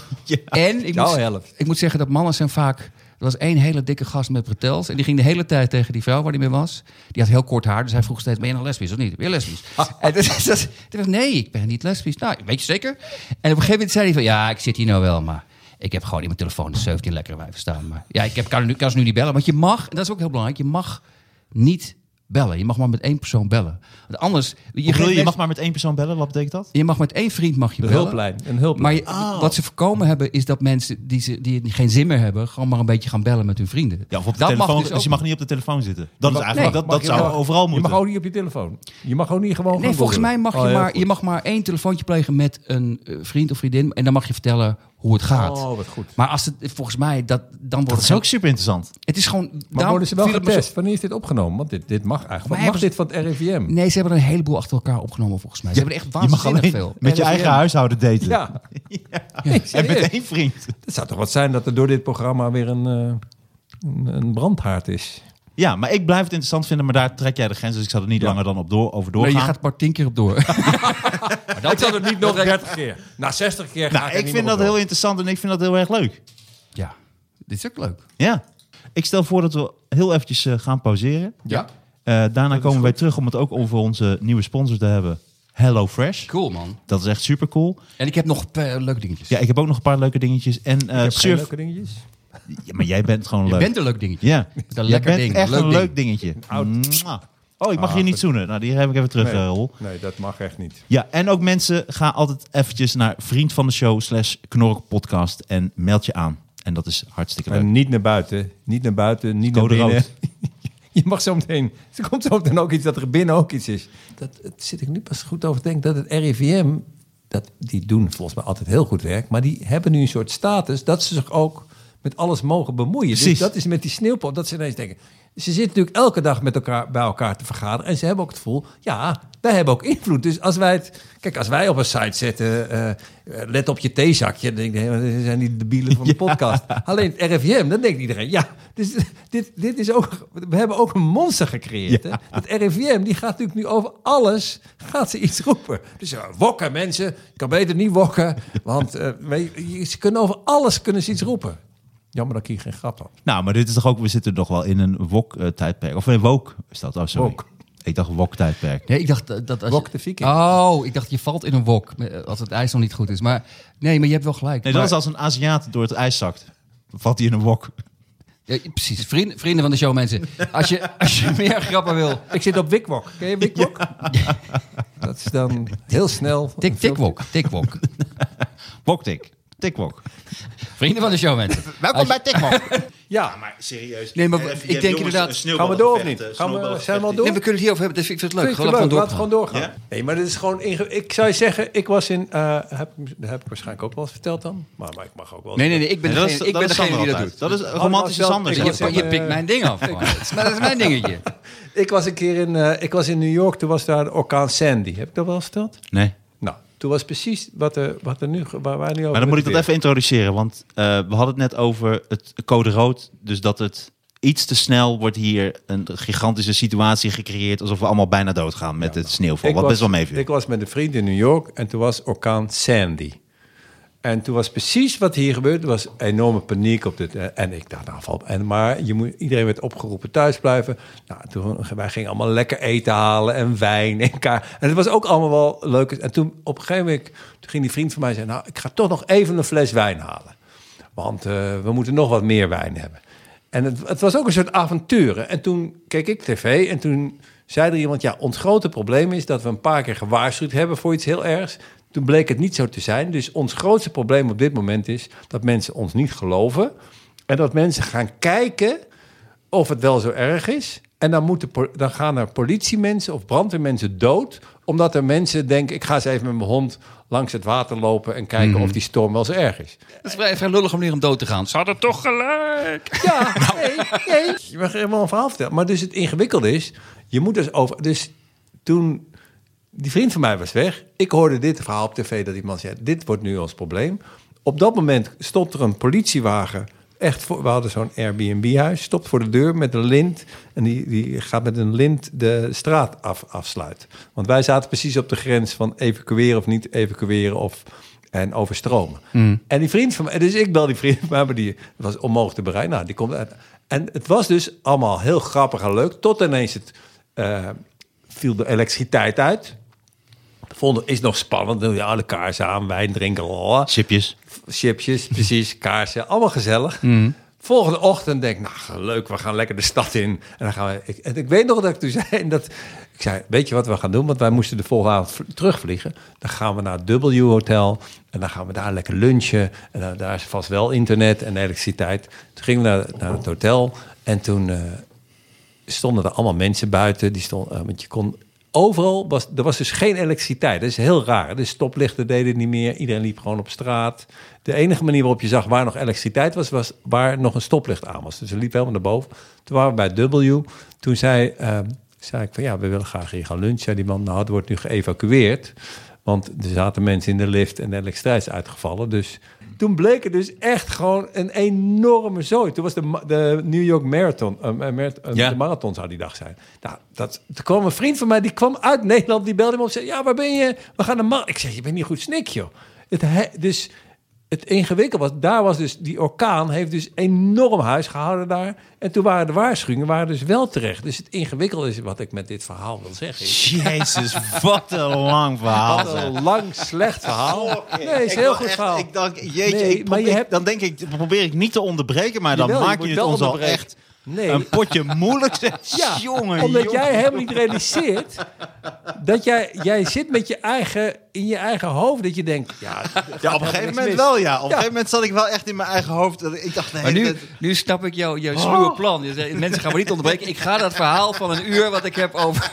En ik
jouw
moet,
helft.
Ik moet zeggen dat mannen zijn vaak... Er was één hele dikke gast met bretels. En die ging de hele tijd tegen die vrouw waar hij mee was. Die had heel kort haar. Dus hij vroeg steeds, ben je nou lesbisch of niet? Ben je lesbisch? En toen zei ze- toen dacht ik, nee, ik ben niet lesbisch. Nou, weet je zeker? En op een gegeven moment zei hij van... Ja, ik zit hier nou wel, maar... Ik heb gewoon in mijn telefoon de 17 lekkere wijven staan. Maar ja, ik heb, kan, nu, kan ze nu niet bellen. Want je mag, en dat is ook heel belangrijk... Je mag niet bellen. Je mag maar met één persoon bellen. Want anders... Je,
Je,
geeft
je
mensen-
mag maar met één persoon bellen, wat betekent dat?
je mag met één vriend mag je
Een
bellen.
hulplijn. Een hulplijn.
Maar je- wat ze voorkomen hebben, is dat mensen die, ze, die geen zin meer hebben, gewoon maar een beetje gaan bellen met hun vrienden.
Ja, of op de
dat
telefoon.
Mag
dus
dus
je
ook
mag niet op de telefoon zitten. Dat, is
mag-
eigenlijk,
nee,
dat, dat
je
zou
mag-
overal moeten.
Je mag ook niet op je telefoon. Je mag ook niet gewoon
niet. Nee,
gaan
volgens mij
googlen.
mag je,
Oh, heel
maar,
goed.
je mag maar één telefoontje plegen met een eh, vriend of vriendin. En dan mag je vertellen hoe het gaat.
Oh, wat goed.
Maar als het, volgens mij, dat, dan wordt
Dat
het
is ook super interessant.
Het is gewoon.
Maar
daarom
worden ze wel
viel het me zo-
getest? Wanneer is dit opgenomen? Want dit, dit mag eigenlijk.
Maar
Wat mag dit van het RIVM?
Nee, ze hebben er een heleboel achter elkaar opgenomen, volgens mij. Ze hebben er echt waanzinnig veel.
met je
RIVM.
eigen huishouden daten.
Ja.
En met
serieus.
één vriend.
Het zou toch wat zijn dat er door dit programma weer een, eh, een, een brandhaard is.
Ja, maar ik blijf het interessant vinden, maar daar trek jij de grens. Dus ik zal er niet langer dan op door, over
Nee,
doorgaan.
je gaat er maar tien keer op door.
ik zal het niet nog 30 keer. Na 60 keer ga
nou,
er
ik
niet
vind
meer op
dat heel interessant en ik vind dat heel erg leuk.
ja, dit is ook leuk.
Ja. Ik stel voor dat we heel eventjes eh, gaan pauzeren.
Ja,
Eh, daarna komen wij terug om het ook over onze nieuwe sponsor te hebben. Hello Fresh.
cool man.
Dat is echt super cool.
En ik heb nog eh, leuke dingetjes.
Ja, ik heb ook nog een paar leuke dingetjes. En eh
door. Ik heb geen
surf,
leuke dingetjes.
Ja, maar jij bent gewoon
Je
leuk.
bent een leuk dingetje.
ja,
een
Jij
lekker
bent
ding,
echt
leuk
een
ding.
leuk dingetje.
Oud.
Mwah. Oh, ik mag je niet zoenen. Nou, die heb ik even terug,
Nee.
eh, Roel.
Nee, dat mag echt niet.
Ja, en ook mensen, ga altijd eventjes naar vriend van de show slash knork podcast en meld je aan. En dat is hartstikke leuk.
En niet naar buiten. Niet naar buiten, niet
Code
naar binnen.
rood.
Je mag zo meteen... Er komt zo meteen ook iets dat er binnen ook iets is. Dat, dat zit ik nu pas goed over te denken. Dat het RIVM... Dat, die doen volgens mij altijd heel goed werk. Maar die hebben nu een soort status dat ze zich ook met alles mogen bemoeien. Dus
Precies.
dat is met die sneeuwpop. Dat ze ineens denken... Ze zitten natuurlijk elke dag met elkaar, bij elkaar te vergaderen. En ze hebben ook het gevoel... Ja, wij hebben ook invloed. Dus als wij het... Kijk, als wij op een site zetten... eh, eh, let op je theezakje. Dan denk ik, hé, dat zijn die debielen van de podcast. Alleen het RIVM, dan denkt iedereen... Ja, dus, dit, dit is ook... We hebben ook een monster gecreëerd. Hè? Het RIVM, die gaat natuurlijk nu over alles... Gaat ze iets roepen. Dus ja, wokken mensen. Je kan beter niet wokken. Want eh, weet je, ze kunnen over alles kunnen ze iets roepen. Jammer dat ik hier geen grap had.
Nou, maar dit is toch ook, we zitten nog wel in een wok-tijdperk. Of een woke is dat, oh sorry.
Wok.
Ik dacht wok-tijdperk.
Nee, ik dacht dat- dat... Als je-
Wok de Viking.
Oh, ik dacht je valt in een wok. eh, Als het ijs nog niet goed is. Maar nee, maar je hebt wel gelijk.
Nee, dat
Maar-
is als een Aziat door het ijs zakt. Dan valt hij in een wok.
Ja, precies, vrienden, vrienden van de show mensen. Als je, als je meer grappen wil,
Ik zit op Wikwok. Ken je Wikwok? Dat is dan heel snel.
tik tik wok, tik wok.
Woktik. Tikwok.
Vrienden van de show mensen.
Welkom bij Tikwok.
Ja,
maar serieus.
Nee, maar Eh, je ik hebt denk jongens inderdaad- een eh,
gaan we door of niet? Gaan we, zijn we al door?
Nee, we kunnen het hierover hebben, dus ik vind het leuk.
Vind je
Gewoon
het
even
leuk?
door.
Laten we gewoon doorgaan.
Ja.
Nee, maar dit is gewoon... inge- Ik zou je zeggen, ik was in... eh, heb, heb ik waarschijnlijk ook wel eens verteld dan. Maar, maar ik mag ook wel...
Nee, nee, nee, ik ben
dat
degene,
is,
ik ben
dat is
degene die
Sander altijd.
dat doet.
Dat is een romantische
Oh, dat
Sander.
is wel-
die
ik
Je,
dat
je
doet.
pikt mijn ding af. gewoon. Dat is mijn- dat is mijn dingetje.
Ik was een keer in... eh, ik was in New York, toen was daar de orkaan Sandy. Heb ik dat wel eens verteld?
Nee.
Nou, toen was precies wat er, wat er nu... ge- Waar, waar nu over
Maar dan moet ik
het
dat even
weer.
introduceren, want eh, we hadden het net over het code rood. Dus dat het iets te snel wordt hier een gigantische situatie gecreëerd. Alsof we allemaal bijna doodgaan met het sneeuwval.
Ik
wat best wel
was-
meeviel.
Ik was met een vriend in New York en toen was orkaan Sandy. En toen was precies wat hier gebeurde, was enorme paniek op dit. eh, En ik dacht, nou, valt- en maar je moet, iedereen werd opgeroepen thuis blijven. Nou, toen, wij gingen allemaal lekker eten halen en wijn en kaar. En het was ook allemaal wel leuk. En toen op een gegeven moment toen ging die vriend van mij zeggen, nou, ik ga toch nog even een fles wijn halen. Want eh, we moeten nog wat meer wijn hebben. En het, het was ook een soort avonturen. En toen keek ik tv en toen zei er iemand... ja, ons grote probleem is dat we een paar keer gewaarschuwd hebben voor iets heel ergs. Toen bleek het niet zo te zijn. Dus ons grootste probleem op dit moment is dat mensen ons niet geloven. En dat mensen gaan kijken of het wel zo erg is. En dan, moeten, po- dan gaan er politiemensen of brandweermensen dood... omdat er mensen denken, ik ga eens even met mijn hond langs het water lopen... en kijken of die storm wel zo erg is.
Dat is vrij, vrij lullig om hier om dood te gaan. Ze hadden toch gelijk.
Ja, nee, nee. Nou. Je mag helemaal een verhaal vertellen. Maar dus het ingewikkelde is, je moet dus over... Dus toen, die vriend van mij was weg. Ik hoorde dit verhaal op tv dat iemand zei, dit wordt nu ons probleem. Op dat moment stond er een politiewagen... Echt voor, we hadden zo'n Airbnb-huis. Stopt voor de deur met een lint. En die, die gaat met een lint de straat af, afsluiten. Want wij zaten precies op de grens van evacueren of niet evacueren. Of en overstromen. En die vriend van mij, dus ik bel die vriend van mij, maar die was onmogelijk te bereiken. Nou, die komt uit. En het was dus allemaal heel grappig en leuk, tot ineens het, eh, viel de elektriciteit uit. Vonden is nog spannend. Dan doe je alle kaarsen aan, wijn drinken, lala.
Chipjes.
chipjes, precies, kaarsen, allemaal gezellig. Volgende ochtend denk ik, nou leuk, we gaan lekker de stad in. En dan gaan we. Ik, en ik weet nog dat ik toen zei en dat ik zei, weet je wat we gaan doen? Want wij moesten de volgende avond vl- terugvliegen. Dan gaan we naar het W Hotel en dan gaan we daar lekker lunchen. En dan- daar is vast wel internet en elektriciteit. Toen gingen we naar, naar het hotel en toen. eh, stonden er allemaal mensen buiten. Die stonden, eh, want je kon overal was er was dus geen elektriciteit. Dat is heel raar. De stoplichten deden het niet meer. Iedereen liep gewoon op straat. De enige manier waarop je zag waar nog elektriciteit was, was waar nog een stoplicht aan was. Dus we liepen helemaal naar boven. Toen waren we bij W. Toen zei, eh, zei ik van ja, we willen graag hier gaan lunchen. Zei die man, nou, het wordt nu geëvacueerd. Want er zaten mensen in de lift en de elektriciteit is uitgevallen. Dus toen bleek het dus echt gewoon een enorme zooi. Toen was de, ma- de New York Marathon, eh, eh, marath- eh,
Ja.
de marathon zou die dag zijn. Nou, dat, toen kwam een vriend van mij, die kwam uit Nederland, die belde me op en zei, ja, waar ben je? We gaan de mar. Ik zeg, je bent niet goed snik, joh. Het, he- dus het ingewikkeld was, daar was dus die orkaan heeft dus enorm huis gehouden daar. En toen waren de waarschuwingen waren dus wel terecht. Dus het ingewikkelde is wat ik met dit verhaal wil zeggen. is-
Jezus, wat een lang verhaal.
Wat
zeg.
een lang slecht verhaal. Nee, is een heel
wil
goed
echt-
verhaal.
Oh, Ik dacht, jeetje,
Nee,
ik
maar je
probeer-
hebt-
dan denk ik, dan probeer ik niet te onderbreken, maar dan
Jawel, je
maak je,
moet
het
wel
ons al
onderbreken.
echt
Nee.
een potje moeilijk.
Ja,
jongen,
omdat
jongen.
jij helemaal niet realiseert dat jij, jij zit met je eigen, in je eigen hoofd dat je denkt, ja,
Ja, op een gegeven moment
mis.
wel, ja. Op een
Ja.
gegeven moment zat ik wel echt in mijn eigen hoofd. dat Ik dacht, nee,
Maar nu,
dat-
nu snap ik jouw jouw sluwe plan. Je zegt, mensen gaan me niet onderbreken. Ik ga dat verhaal van een uur wat ik heb over...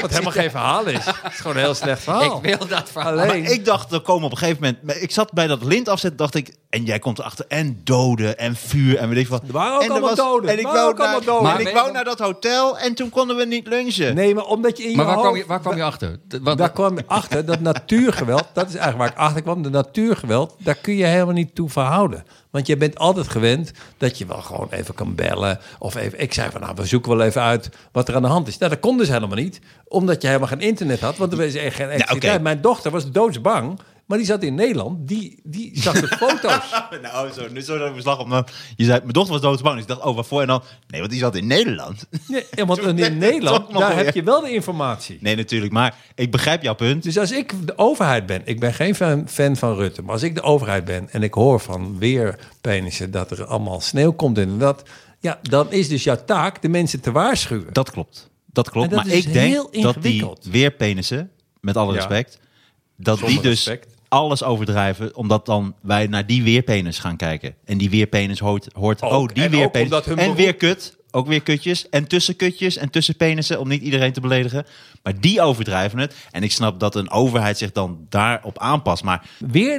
wat helemaal geen verhaal is. Het is gewoon een heel slecht verhaal.
Ik wil dat verhaal.
Alleen,
Maar ik dacht, er komen op een gegeven moment... maar Ik zat bij dat lint afzet, dacht ik... En jij komt erachter. En doden en vuur en weet ik wat.
Er waren ook
en
allemaal doden.
En ik
Er waren
wou,
ook
naar,
allemaal doden.
En
Maar
ik
weet
wou
je-
naar dat hotel en toen konden we niet lunchen.
nee, maar omdat je in
Maar
je
waar
hoofd...
kwam je, waar kwam je achter? De- wat-
daar kwam je achter dat natuurgeweld, dat is eigenlijk waar ik achter kwam, de natuurgeweld, daar kun je helemaal niet toe verhouden. Want je bent altijd gewend dat je wel gewoon even kan bellen. Of even, ik zei van nou, we zoeken wel even uit wat er aan de hand is. Nou, dat kon dus helemaal niet, omdat je helemaal geen internet had, want er was echt geen elektriciteit.
oké.
Mijn dochter was doodsbang, maar die zat in Nederland, die, die zag de foto's.
nou, zo, nu zo dat ik mijn slag op me... Je zei, mijn dochter was doodsbang. Dus ik dacht, oh, waarvoor? En dan... Nee, want die zat in Nederland.
Nee, ja, want
Toen-
in Nederland,
Toch nog
daar
weer.
heb je wel de informatie.
Nee, natuurlijk. Maar ik begrijp jouw punt.
Dus als ik de overheid ben, ik ben geen fan, fan van Rutte, maar als ik de overheid ben en ik hoor van weer penissen dat er allemaal sneeuw komt en dat, ja, dan is dus jouw taak de mensen te waarschuwen.
Dat klopt. Dat klopt.
En dat
maar
is
ik denk
heel
dat die
ingewikkeld.
weerpenissen, met alle
Ja.
respect, dat
Zonder
die dus
respect.
alles overdrijven, omdat dan wij naar die weerpenis gaan kijken. En die weerpenis hoort, hoort
Ook.
oh, die
En ook
weerpenis.
omdat hun
en
beroep-
weer kut, ook weer kutjes. En tussenkutjes en tussenpenissen, om niet iedereen te beledigen. Maar die overdrijven het. En ik snap dat een overheid zich dan daarop aanpast. Maar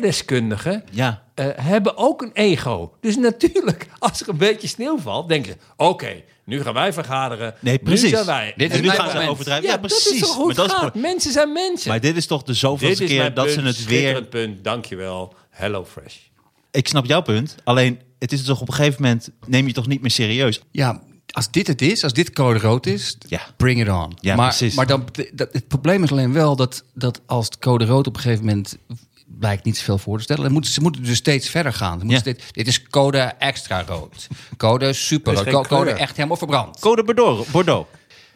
Weerdeskundigen
ja,
eh, hebben ook een ego. Dus natuurlijk, als er een beetje sneeuw valt, denken ze, oké, nu gaan wij vergaderen.
nee,
Nu
precies.
zijn wij.
Dit is
en nu
mijn
gaan ze
moment.
overdrijven.
ja,
Ja,
dat
precies.
is toch
maar,
hoe het
dat is,
gaat. Mensen zijn mensen.
maar dit is toch de zoveelste
Dit is
keer
mijn
dat
punt,
ze het weer
schitterend punt, dankjewel. Hello Fresh.
Ik snap jouw punt. Alleen, het is toch op een gegeven moment... neem je toch niet meer serieus?
Ja, als dit het is, als dit code rood is,
Ja.
bring it on.
Ja,
maar
precies.
maar dan, bet- dat, het probleem is alleen wel dat, dat als het code rood op een gegeven moment blijkt niet zoveel voor te stellen, dan moeten ze moeten dus steeds verder gaan. Ze moeten
Ja.
steeds- dit is code extra rood, code super,
Er
rood,
is
co-
geen
code
kleur.
echt helemaal verbrand.
Code Bordeaux. Bordeaux.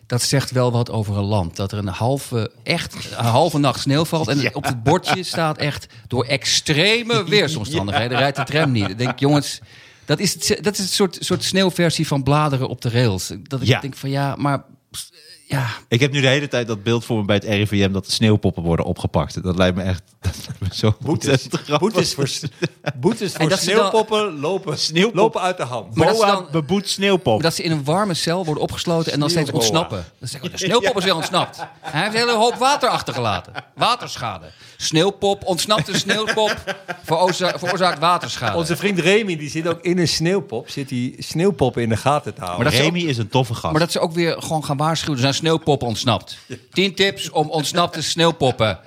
Dat zegt wel wat over een land. Dat er een halve, echt een halve nacht sneeuw valt. En op het bordje staat echt door extreme weersomstandigheden rijdt de tram niet. Ik denk, jongens, dat is het, dat is het soort, soort sneeuwversie van bladeren op de rails. Dat ik
Ja.
denk van ja, maar pst, ja,
Ik heb nu de hele tijd dat beeld voor me bij het RIVM... dat de sneeuwpoppen worden opgepakt. Dat lijkt me echt dat lijkt me zo
Boetes,
ontzettend grappig.
boetes voor, boetes
En
voor
dat ze dan-
sneeuwpoppen lopen,
Sneeuwpop.
lopen uit de hand.
Maar dat ze
BOA
dan-
beboet sneeuwpop.
dat ze in een warme cel worden opgesloten en dan steeds
Sneeuwboa.
ontsnappen. Dan zeg ik, de sneeuwpop is weer ontsnapt. Hij heeft een hele hoop water achtergelaten. Waterschade. Sneeuwpop, ontsnapte sneeuwpop, veroorza- veroorzaakt waterschade.
Onze vriend Remy, die zit ook in een sneeuwpop, zit die sneeuwpoppen in de gaten te houden.
Maar dat ze
Remy is een toffe gast.
Maar dat ze ook weer gewoon gaan waarschuwen. Er zijn sneeuwpoppen ontsnapt. 10 tips om ontsnapte sneeuwpoppen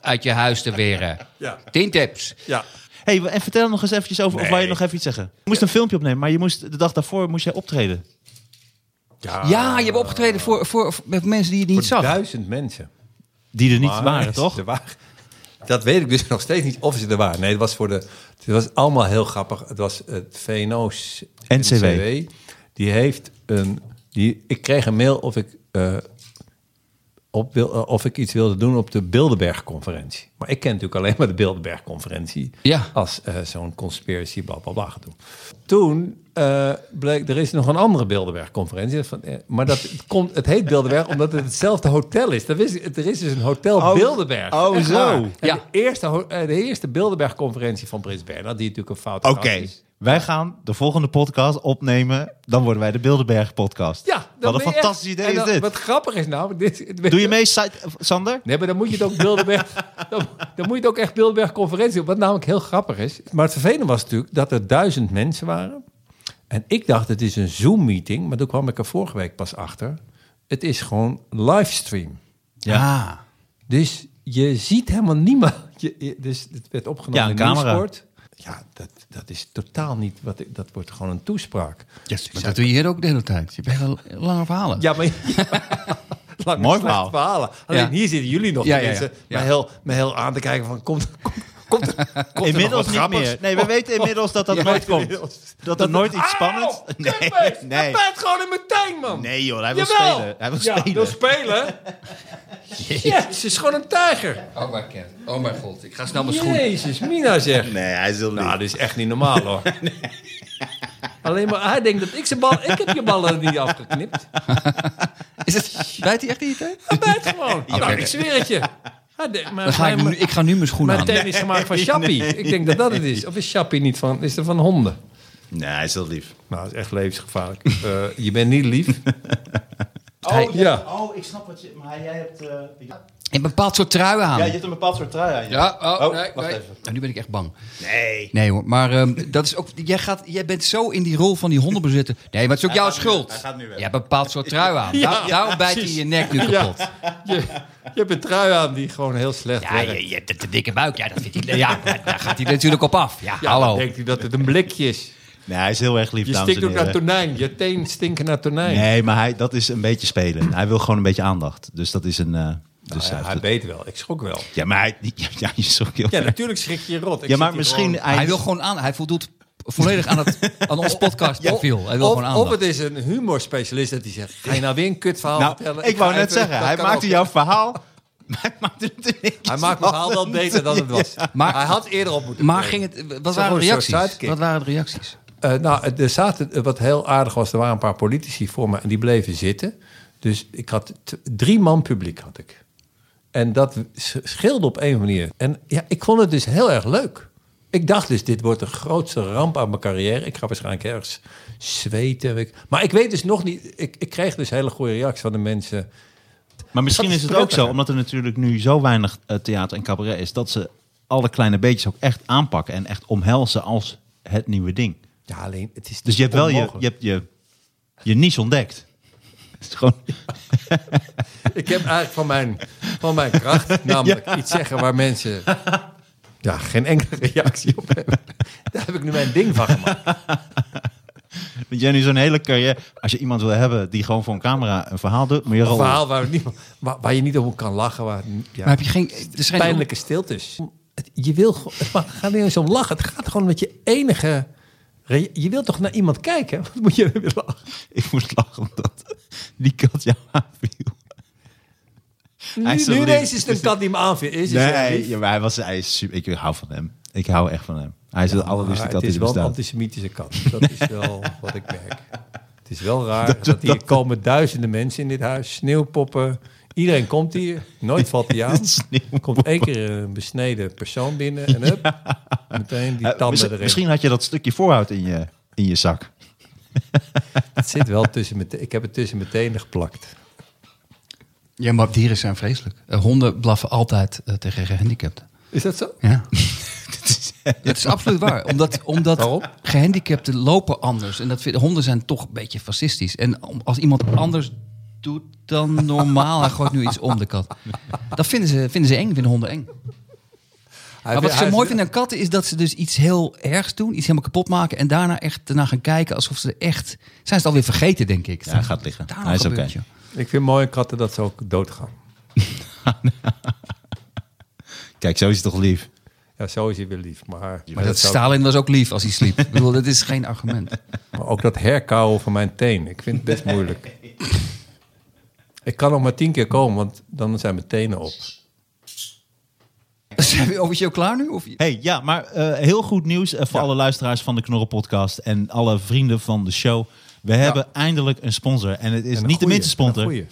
uit je huis te weren.
Ja.
10 tips.
Ja.
Hey, en vertel nog eens eventjes over... of
Nee.
wou je nog even iets zeggen? Je moest een filmpje opnemen, maar je moest, de dag daarvoor moest jij optreden.
Ja, je hebt opgetreden voor, voor, voor- met mensen die je niet zag.
duizend mensen.
Die er niet
Maar
waren,
ze
toch?
er waren- Dat weet ik dus nog steeds niet of ze er waren. Nee, het was voor de. Het was allemaal heel grappig. Het was eh, het VNO's
NCW.
Die heeft een. Die, ik kreeg een mail of ik. eh, op, wil- eh, of ik iets wilde doen op de Bilderberg-conferentie. Maar ik ken natuurlijk alleen maar de Bilderberg-conferentie.
Ja.
Als eh, zo'n conspiracy bla bla bla gedoe. Toen eh, bleek, er is nog een andere Bilderberg-conferentie. Van, eh, maar dat het komt, het heet Bilderberg omdat het hetzelfde hotel is. Dat wist, ik- er is dus een hotel Bilderberg.
oh,
Echt
zo.
waar. En
Ja.
De eerste, ho- eh, de eerste Bilderberg-conferentie van Prins Bernhard, die natuurlijk een fout
Oké, wij gaan de volgende podcast opnemen. Dan worden wij de Bilderberg-podcast.
Ja,
Wat
dan ben
een
je echt-
fantastisch idee
en
is
dan-
dit.
Wat grappig is nou... Dit,
Doe je mee, Sa- Sander?
Nee, maar dan moet je het ook Bilderberg... dan, dan moet je het ook echt Bilderberg-conferentie doen, wat namelijk heel grappig is. Maar het vervelende was natuurlijk dat er duizend mensen waren. En ik dacht, het is een Zoom-meeting, maar toen kwam ik er vorige week pas achter. Het is gewoon livestream.
Ja.
Dus je ziet helemaal niemand. Je, je- dus het werd opgenomen
Ja, een
in
camera.
Nieuwsport. Ja, dat, dat is totaal niet... Wat, ik- dat wordt gewoon een toespraak.
Maar dat doe je hier ook de hele tijd. Je bent wel lange verhalen.
Ja, maar... Lang
Mooi
slecht
verhaal.
verhalen. Alleen
Ja.
hier zitten jullie nog
Ja,
de
ja, ja.
mensen
Ja.
Me, heel, me heel aan te kijken van... Komt, komt, Komt, komt
Inmiddels
er
niet
nog wat
meer.
grappigs?
Nee, we weten inmiddels dat dat
Ja,
nooit
komt.
komt. Dat er nooit iets spannends...
Auw,
Nee,
kutbeest! Hij
nee.
bijt gewoon in mijn tuin, man.
Nee joh, hij wil
Jawel.
spelen. Hij wil
ja,
spelen.
wil spelen. Jezus, is gewoon een tijger.
Oh, mijn god. Oh, mijn god. Ik ga snel mijn schoenen.
Jezus, Mina zegt.
Nee, hij zult niet.
Nou, dit is echt niet normaal, hoor. Alleen maar, hij denkt dat ik zijn bal... Ik heb je ballen niet afgeknipt.
Is het, bijt hij echt niet, hè?
Hij bijt gewoon. Nou,
oké.
ik zweer het je. Hij denkt, maar
Dan ga ik,
mijn,
nu, ik ga nu mijn schoenen
mijn
aan.
teen is gemaakt van Chappie. Ik denk dat dat het is. Of is Chappie niet van... Is er van honden?
Nee, hij is heel lief.
Nou, dat is echt levensgevaarlijk. Eh, je bent niet lief.
Hij-
ja.
oh, ik snap wat je... Maar jij hebt... eh,
Een bepaald soort truien aan.
ja, je hebt een bepaald soort trui aan. je.
Ja, oh, nee,
wacht
nee.
even.
Nou, nu ben ik echt bang.
Nee.
Nee hoor, maar ehm, dat is ook, jij, gaat, jij bent zo in die rol van die hondenbezitter. Nee, maar het is ook jouw
gaat nu
schuld.
weg, hij gaat nu weg.
Jij hebt een bepaald soort trui aan.
Ja,
Daar- daarom
ja,
bijt hij
precies.
je nek nu
Ja.
kapot. Ja,
Je, je hebt een trui aan die gewoon heel slecht werkt.
je, je hebt een te dikke buik. Ja, dat vindt hij, ja, daar- daar gaat hij natuurlijk op af. Ja,
Ja,
hallo.
dan denkt hij dat het een blikje is.
Nee, hij is heel erg lief,
Je
dames en
stikt ook naar
heren.
tonijn. Je teen stinken naar tonijn.
Nee, maar hij, dat is een beetje spelen. Hij wil gewoon een beetje aandacht. Dus dat is een... eh, dus hij
Ja,
heeft
hij
het-
weet wel. Ik schrok wel.
ja, maar hij... Ja, ja, je schrok heel
Ja,
erg.
natuurlijk schrik je rot. Ik
Ja,
zit
maar
hier
misschien...
gewoon-
Hij wil gewoon aan. Hij voldoet volledig aan, het, aan ons podcastprofiel. Hij wil
of,
gewoon
of
aan.
het is een humorspecialist dat die zegt... Ga je nou weer een kutverhaal
Nou,
vertellen?
ik wou
ga
net
even-
zeggen,
dat
hij
kan
maakte
ook.
jouw verhaal... maar Hij maakte het in één keer
Hij maakt mijn verhaal wel
spannend.
beter dan het was.
Maar-
Maar, hij had eerder op moeten
Maar
komen.
ging het, wat
gewoon
waren
een
de
soort
reacties?
sidekick.
Wat waren de reacties?
Eh, nou, er zaten, eh, wat heel aardig was, er waren een paar politici voor me en die bleven zitten. Dus ik had t- drie man publiek had ik. En dat s- scheelde op een manier. En ja, ik vond het dus heel erg leuk. Ik dacht dus, dit wordt de grootste ramp aan mijn carrière. Ik ga waarschijnlijk ergens zweten. Ik- Maar ik weet dus nog niet... Ik, ik kreeg dus hele goede reacties van de mensen.
Maar misschien
Dat
is
is
het ook zo,
prettiger.
omdat er natuurlijk nu zo weinig eh, theater en cabaret is, dat ze alle kleine beetjes ook echt aanpakken en echt omhelzen als het nieuwe ding.
Ja, alleen, het is
Dus je hebt wel je, je, hebt je, je niche ontdekt. Het is gewoon,
Ik heb eigenlijk van mijn, van mijn kracht namelijk iets zeggen waar mensen ja, geen enkele reactie op hebben. Daar heb ik nu mijn ding van gemaakt.
want jij nu zo'n hele carrière. Als je iemand wil hebben die gewoon voor een camera een verhaal doet, moet je
Een
rollen.
verhaal waar, niemand, waar, waar je niet om kan lachen. Waar, ja,
Maar heb je geen... Er zijn
pijnlijke stiltes. Het, je wil, gewoon- het mag- het gaat niet eens om lachen. Het gaat gewoon met je enige... re- Je wilt toch naar iemand kijken? Wat moet je dan weer lachen?
Ik moest lachen omdat die kat jou aanviel. Hij is zo
Nu, nu
lief.
deze is het een kat die me aanvindt. Is het heel
Nee,
lief?
ja, maar hij was, hij is super, ik hou van hem. Ik hou echt van hem. Hij is de allerliefste
Maar
kat die
het is
er
wel een
bestaat.
antisemitische kat. dus Dat is wel wat ik merk. Het is wel raar dat, hier komen duizenden mensen in dit huis. Sneeuwpoppen. Iedereen komt hier. Nooit valt hij aan. Er komt één keer een besneden persoon binnen. En hup, meteen die
Eh,
tanden
misschien-
erin.
Misschien had je dat stukje voorhoud in je, in je zak.
Het zit wel tussen mijn te- Ik heb het tussen mijn tenen geplakt.
Ja, maar dieren zijn vreselijk. Eh, honden blaffen altijd eh, tegen gehandicapten.
Is dat zo?
Ja. Dat is absoluut waar. Omdat, omdat
Waarom?
gehandicapten lopen anders. En dat vind, honden zijn toch een beetje fascistisch. En om- als iemand anders doet dan normaal, hij gooit nu iets om de kat. Dat vinden ze, vinden ze eng, vinden honden eng. Maar Nou, wat ze mooi vinden aan katten is dat ze dus iets heel ergs doen. Iets helemaal kapot maken. En daarna echt ernaar gaan kijken alsof ze echt... Zijn ze het alweer vergeten, denk ik.
Ja, hij gaat liggen.
Daarom
Hij is
gebeurt
oké.
het, joh.
Ik vind mooie katten dat ze ook doodgaan.
Kijk, zo is het toch lief.
Ja, zo is hij weer lief. Maar,
Maar dat
zou-
Stalin was ook lief als hij sliep. Ik bedoel, dat is geen argument.
Maar ook dat herkauwen van mijn teen. Ik vind het best moeilijk. Ik kan nog maar tien keer komen, want dan zijn mijn tenen op.
Zijn we officieel klaar nu? Of...
Hey, ja, maar eh, heel goed nieuws eh, voor alle luisteraars van de Knorren Podcast en alle vrienden van de show. We hebben eindelijk een sponsor en het is
En een
niet de
goeie,
minste
een
sponsor.
goeie.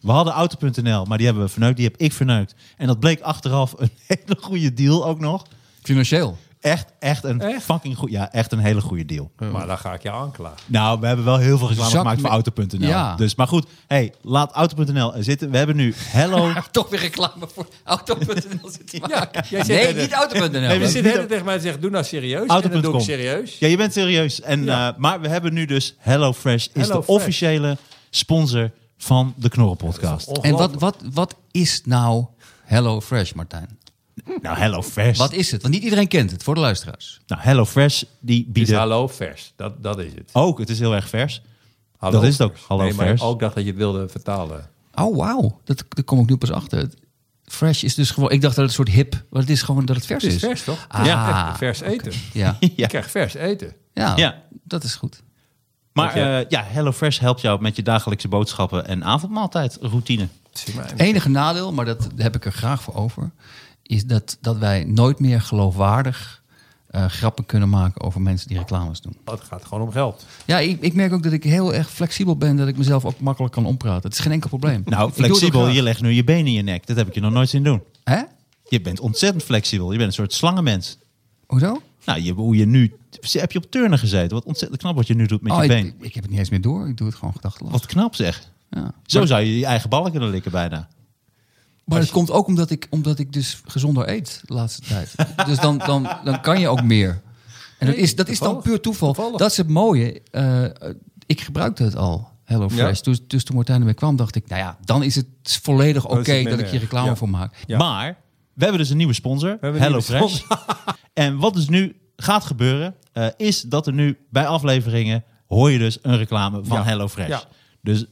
We hadden Auto.nl, maar die hebben we verneukt. Die heb ik verneukt. En dat bleek achteraf een hele goede deal ook nog.
Financieel.
Echt, echt een
Echt?
fucking goed. Ja, echt een hele goede deal.
Maar dan ga ik je aanklagen.
Nou, we hebben wel heel veel reclame
Zak
gemaakt voor
met-
Auto.nl.
Ja.
Dus, maar goed, hey, laat Auto.nl er zitten. We hebben nu Hello.
Toch weer reclame voor auto.nl zit te maken.
jij zit
nee,
bij de-
niet auto.nl.
Nee,
Je
we
Nee,
zit de hele tijd tegen mij en zegt, doe nou serieus. En dat doe ik
Auto.com.
serieus.
Ja, je bent serieus. En, eh, maar we hebben nu dus HelloFresh is de
HelloFresh.
officiële sponsor van de Knorren Podcast.
en
Ongelooflijk.
wat, wat, wat is nou Hello Fresh, Martijn?
Nou, HelloFresh.
Wat is het? Want niet iedereen kent het, voor de luisteraars.
Nou, HelloFresh die
Dus
bieden
hallo vers, dat, dat is het.
ook. Het is heel erg vers.
Hallo
is het ook,
vers.
hallo
nee, maar
vers.
ook dacht dat je het wilde vertalen.
Oh, wauw. Dat, daar kom ik nu pas achter. Het- Fresh is dus gewoon... Ik dacht dat het een soort hip... Maar het is gewoon dat het vers
Het
is.
is vers, toch?
Ah,
ja. Vers eten.
Ja.
Je krijgt vers eten.
Ja,
Ja.
dat is goed.
Maar
Ja.
eh ja, HelloFresh helpt jou met je dagelijkse boodschappen en avondmaaltijdroutine.
Zie maar.
Het enige nadeel, maar dat heb ik er graag voor over... is dat, dat wij nooit meer geloofwaardig eh, grappen kunnen maken... over mensen die reclames doen.
Oh, Het gaat gewoon om geld.
Ja, ik, ik merk ook dat ik heel erg flexibel ben... dat ik mezelf ook makkelijk kan ompraten. Het is geen enkel probleem.
Nou,
Ik doe het ook
flexibel,
graag.
je legt nu je benen in je nek. Dat heb ik je nog nooit zien doen.
Hè?
Je bent ontzettend flexibel. Je bent een soort slangenmens.
Hoezo?
Nou, je, hoe je nu... Heb je op turnen gezeten? Wat ontzettend knap wat je nu doet met
Oh,
je
ik,
been.
ik, ik heb het niet eens meer door. Ik doe het gewoon gedachteloos.
Wat knap zeg.
Ja.
Zo zou je je eigen ballen kunnen likken bijna.
Maar dat komt ook omdat ik, omdat ik dus gezonder eet de laatste tijd. dus dan, dan, dan kan je ook meer. En dat is, dat is dan
toevallig.
puur toeval.
Toevallig.
Dat is het mooie. Eh, eh, ik gebruikte het al, HelloFresh.
Ja.
Dus, dus toen Martijn ermee kwam, dacht ik... nou ja, dan is het volledig oké
Dan is het
dat
minder
ik hier
erg.
reclame
Ja.
voor maak.
Ja.
Maar we hebben dus een nieuwe sponsor,
hebben een nieuwe
HelloFresh. en wat dus nu gaat gebeuren, eh, is dat er nu bij afleveringen hoor je dus een reclame van
Ja.
HelloFresh.
Ja.
Dus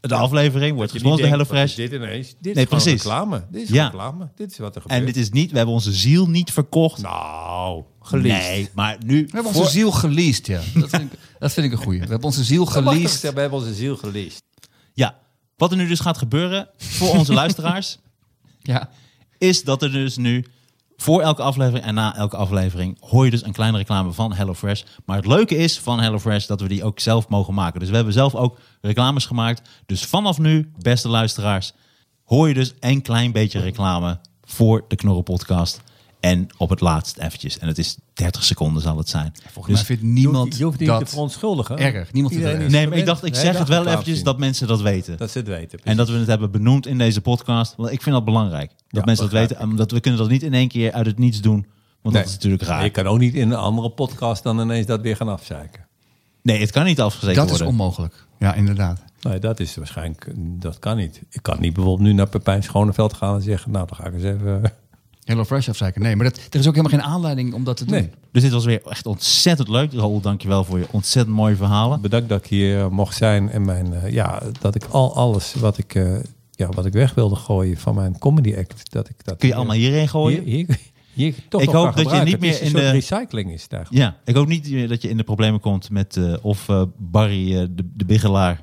de aflevering wordt
Dat je niet
gesponsord door HelloFresh.
denkt, wat is Dit ineens.
Nee,
Dit is gewoon
precies.
reclame. Dit is
Ja.
reclame. Dit is wat er gebeurt.
En dit is niet, we hebben onze ziel niet verkocht.
Nou, geleased.
nee, maar nu...
We hebben onze ziel geleased, ja. Dat vind ik, dat vind ik een goeie. We hebben onze ziel
Dat mag toch
geleased.
zeggen, We hebben onze ziel geleased.
Ja, wat er nu dus gaat gebeuren voor onze luisteraars...
Ja.
is dat er dus nu voor elke aflevering en na elke aflevering hoor je dus een kleine reclame van HelloFresh. Maar het leuke is van HelloFresh dat we die ook zelf mogen maken. Dus we hebben zelf ook reclames gemaakt. Dus vanaf nu, beste luisteraars, hoor je dus een klein beetje reclame voor de Knorren podcast. En op het laatst eventjes. En het is 30 seconden zal het zijn.
Volgens
Dus-
mij vindt niemand
je hoeft niet te
dat...
verontschuldigen.
erg. Niemand vindt
Iedereen
het
is
nee, maar ik dacht, ik
gewend.
zeg
Nee,
het wel
dacht ik
eventjes
laat
dat mensen dat weten.
zien. Dat ze het weten.
En dat we het hebben benoemd in deze podcast. Want ik vind dat belangrijk. Dat
Ja,
mensen dat
begrijp
weten. Omdat we kunnen dat niet in één keer uit het niets doen. Want
Nee.
dat is natuurlijk raar.
Je kan ook niet in een andere podcast dan ineens dat weer gaan afzeiken.
Nee, het kan niet afgezekerd
Dat is
worden.
onmogelijk.
Ja, inderdaad.
Nee, dat is waarschijnlijk, dat kan niet. Ik kan niet bijvoorbeeld nu naar Pepijn Schoneveld gaan en zeggen, nou, dan ga ik eens even...
HelloFresh afzeiken. Nee, maar dat, er is ook helemaal geen aanleiding om dat te doen.
Nee,
Dus dit was weer echt ontzettend leuk. Raoul, dankjewel voor je ontzettend mooie verhalen.
bedankt dat ik hier eh, mocht zijn en mijn, eh, ja, dat ik al alles wat ik, eh, ja, wat ik weg wilde gooien van mijn comedy act, dat ik dat
Kun je
hier-
allemaal hierheen gooien?
hier, hier, hier toch
Ik
nog
hoop
kan
dat je
gebruiken.
niet meer
Het
in
is een soort
de-
recycling is daar.
Ja, ik hoop niet eh, dat je in de problemen komt met eh, of eh, Barry eh, de, de Biggelaar.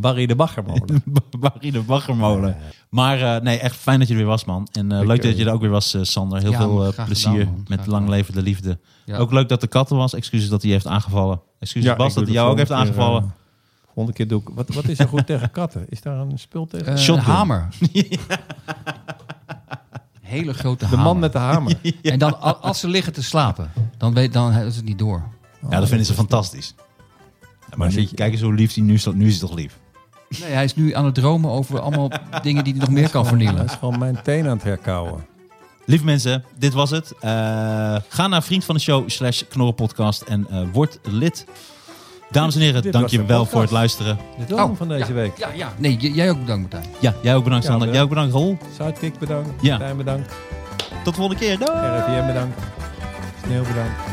Barry de Baggermolen.
Barry de Baggermolen. Maar eh, nee, echt fijn dat je er weer was, man. En eh, leuk dat je er ook weer was, eh, Sander. Heel
Ja,
veel
man,
eh,
graag
plezier
gedaan, man.
met
Graag
lang
gedaan.
leven de liefde.
Ja.
Ook leuk dat de katten was. Excuses dat hij heeft aangevallen. Excuses Bas dat hij jou ook heeft aangevallen.
Volgende keer doe ik... Wat, wat is er goed tegen katten? Is daar een spul tegen?
Eh,
Shotgun.
Een hamer. Hele grote
de
hamer.
man met de hamer.
En dan a- als ze liggen te slapen, dan, weet, dan hebben ze het niet door.
eh,
ja, dat vinden ze fantastisch. Ja, maar nu- kijk eens hoe lief hij nu staat. Nu is hij toch lief.
Nee, hij is nu aan het dromen over allemaal dingen die hij nog meer kan
Dat
vernielen.
is gewoon mijn teen aan het herkauwen.
Lieve mensen, dit was het. Eh, ga naar vriend van de show slash knorrenpodcast en eh, word lid. Dames en heren,
Dit
dank
was
je
de
wel
podcast.
voor het luisteren.
De droom
Oh,
van deze
ja,
week.
Ja, ja. Nee, j- jij ook bedankt Martijn.
Ja, jij ook bedankt,
Ja,
Sander.
bedankt.
Jij ook bedankt, Rol.
Sidekick bedankt.
Ja.
Tijn bedankt.
Tot de volgende keer. Doei!
RIVM bedankt. Sneeuw bedankt.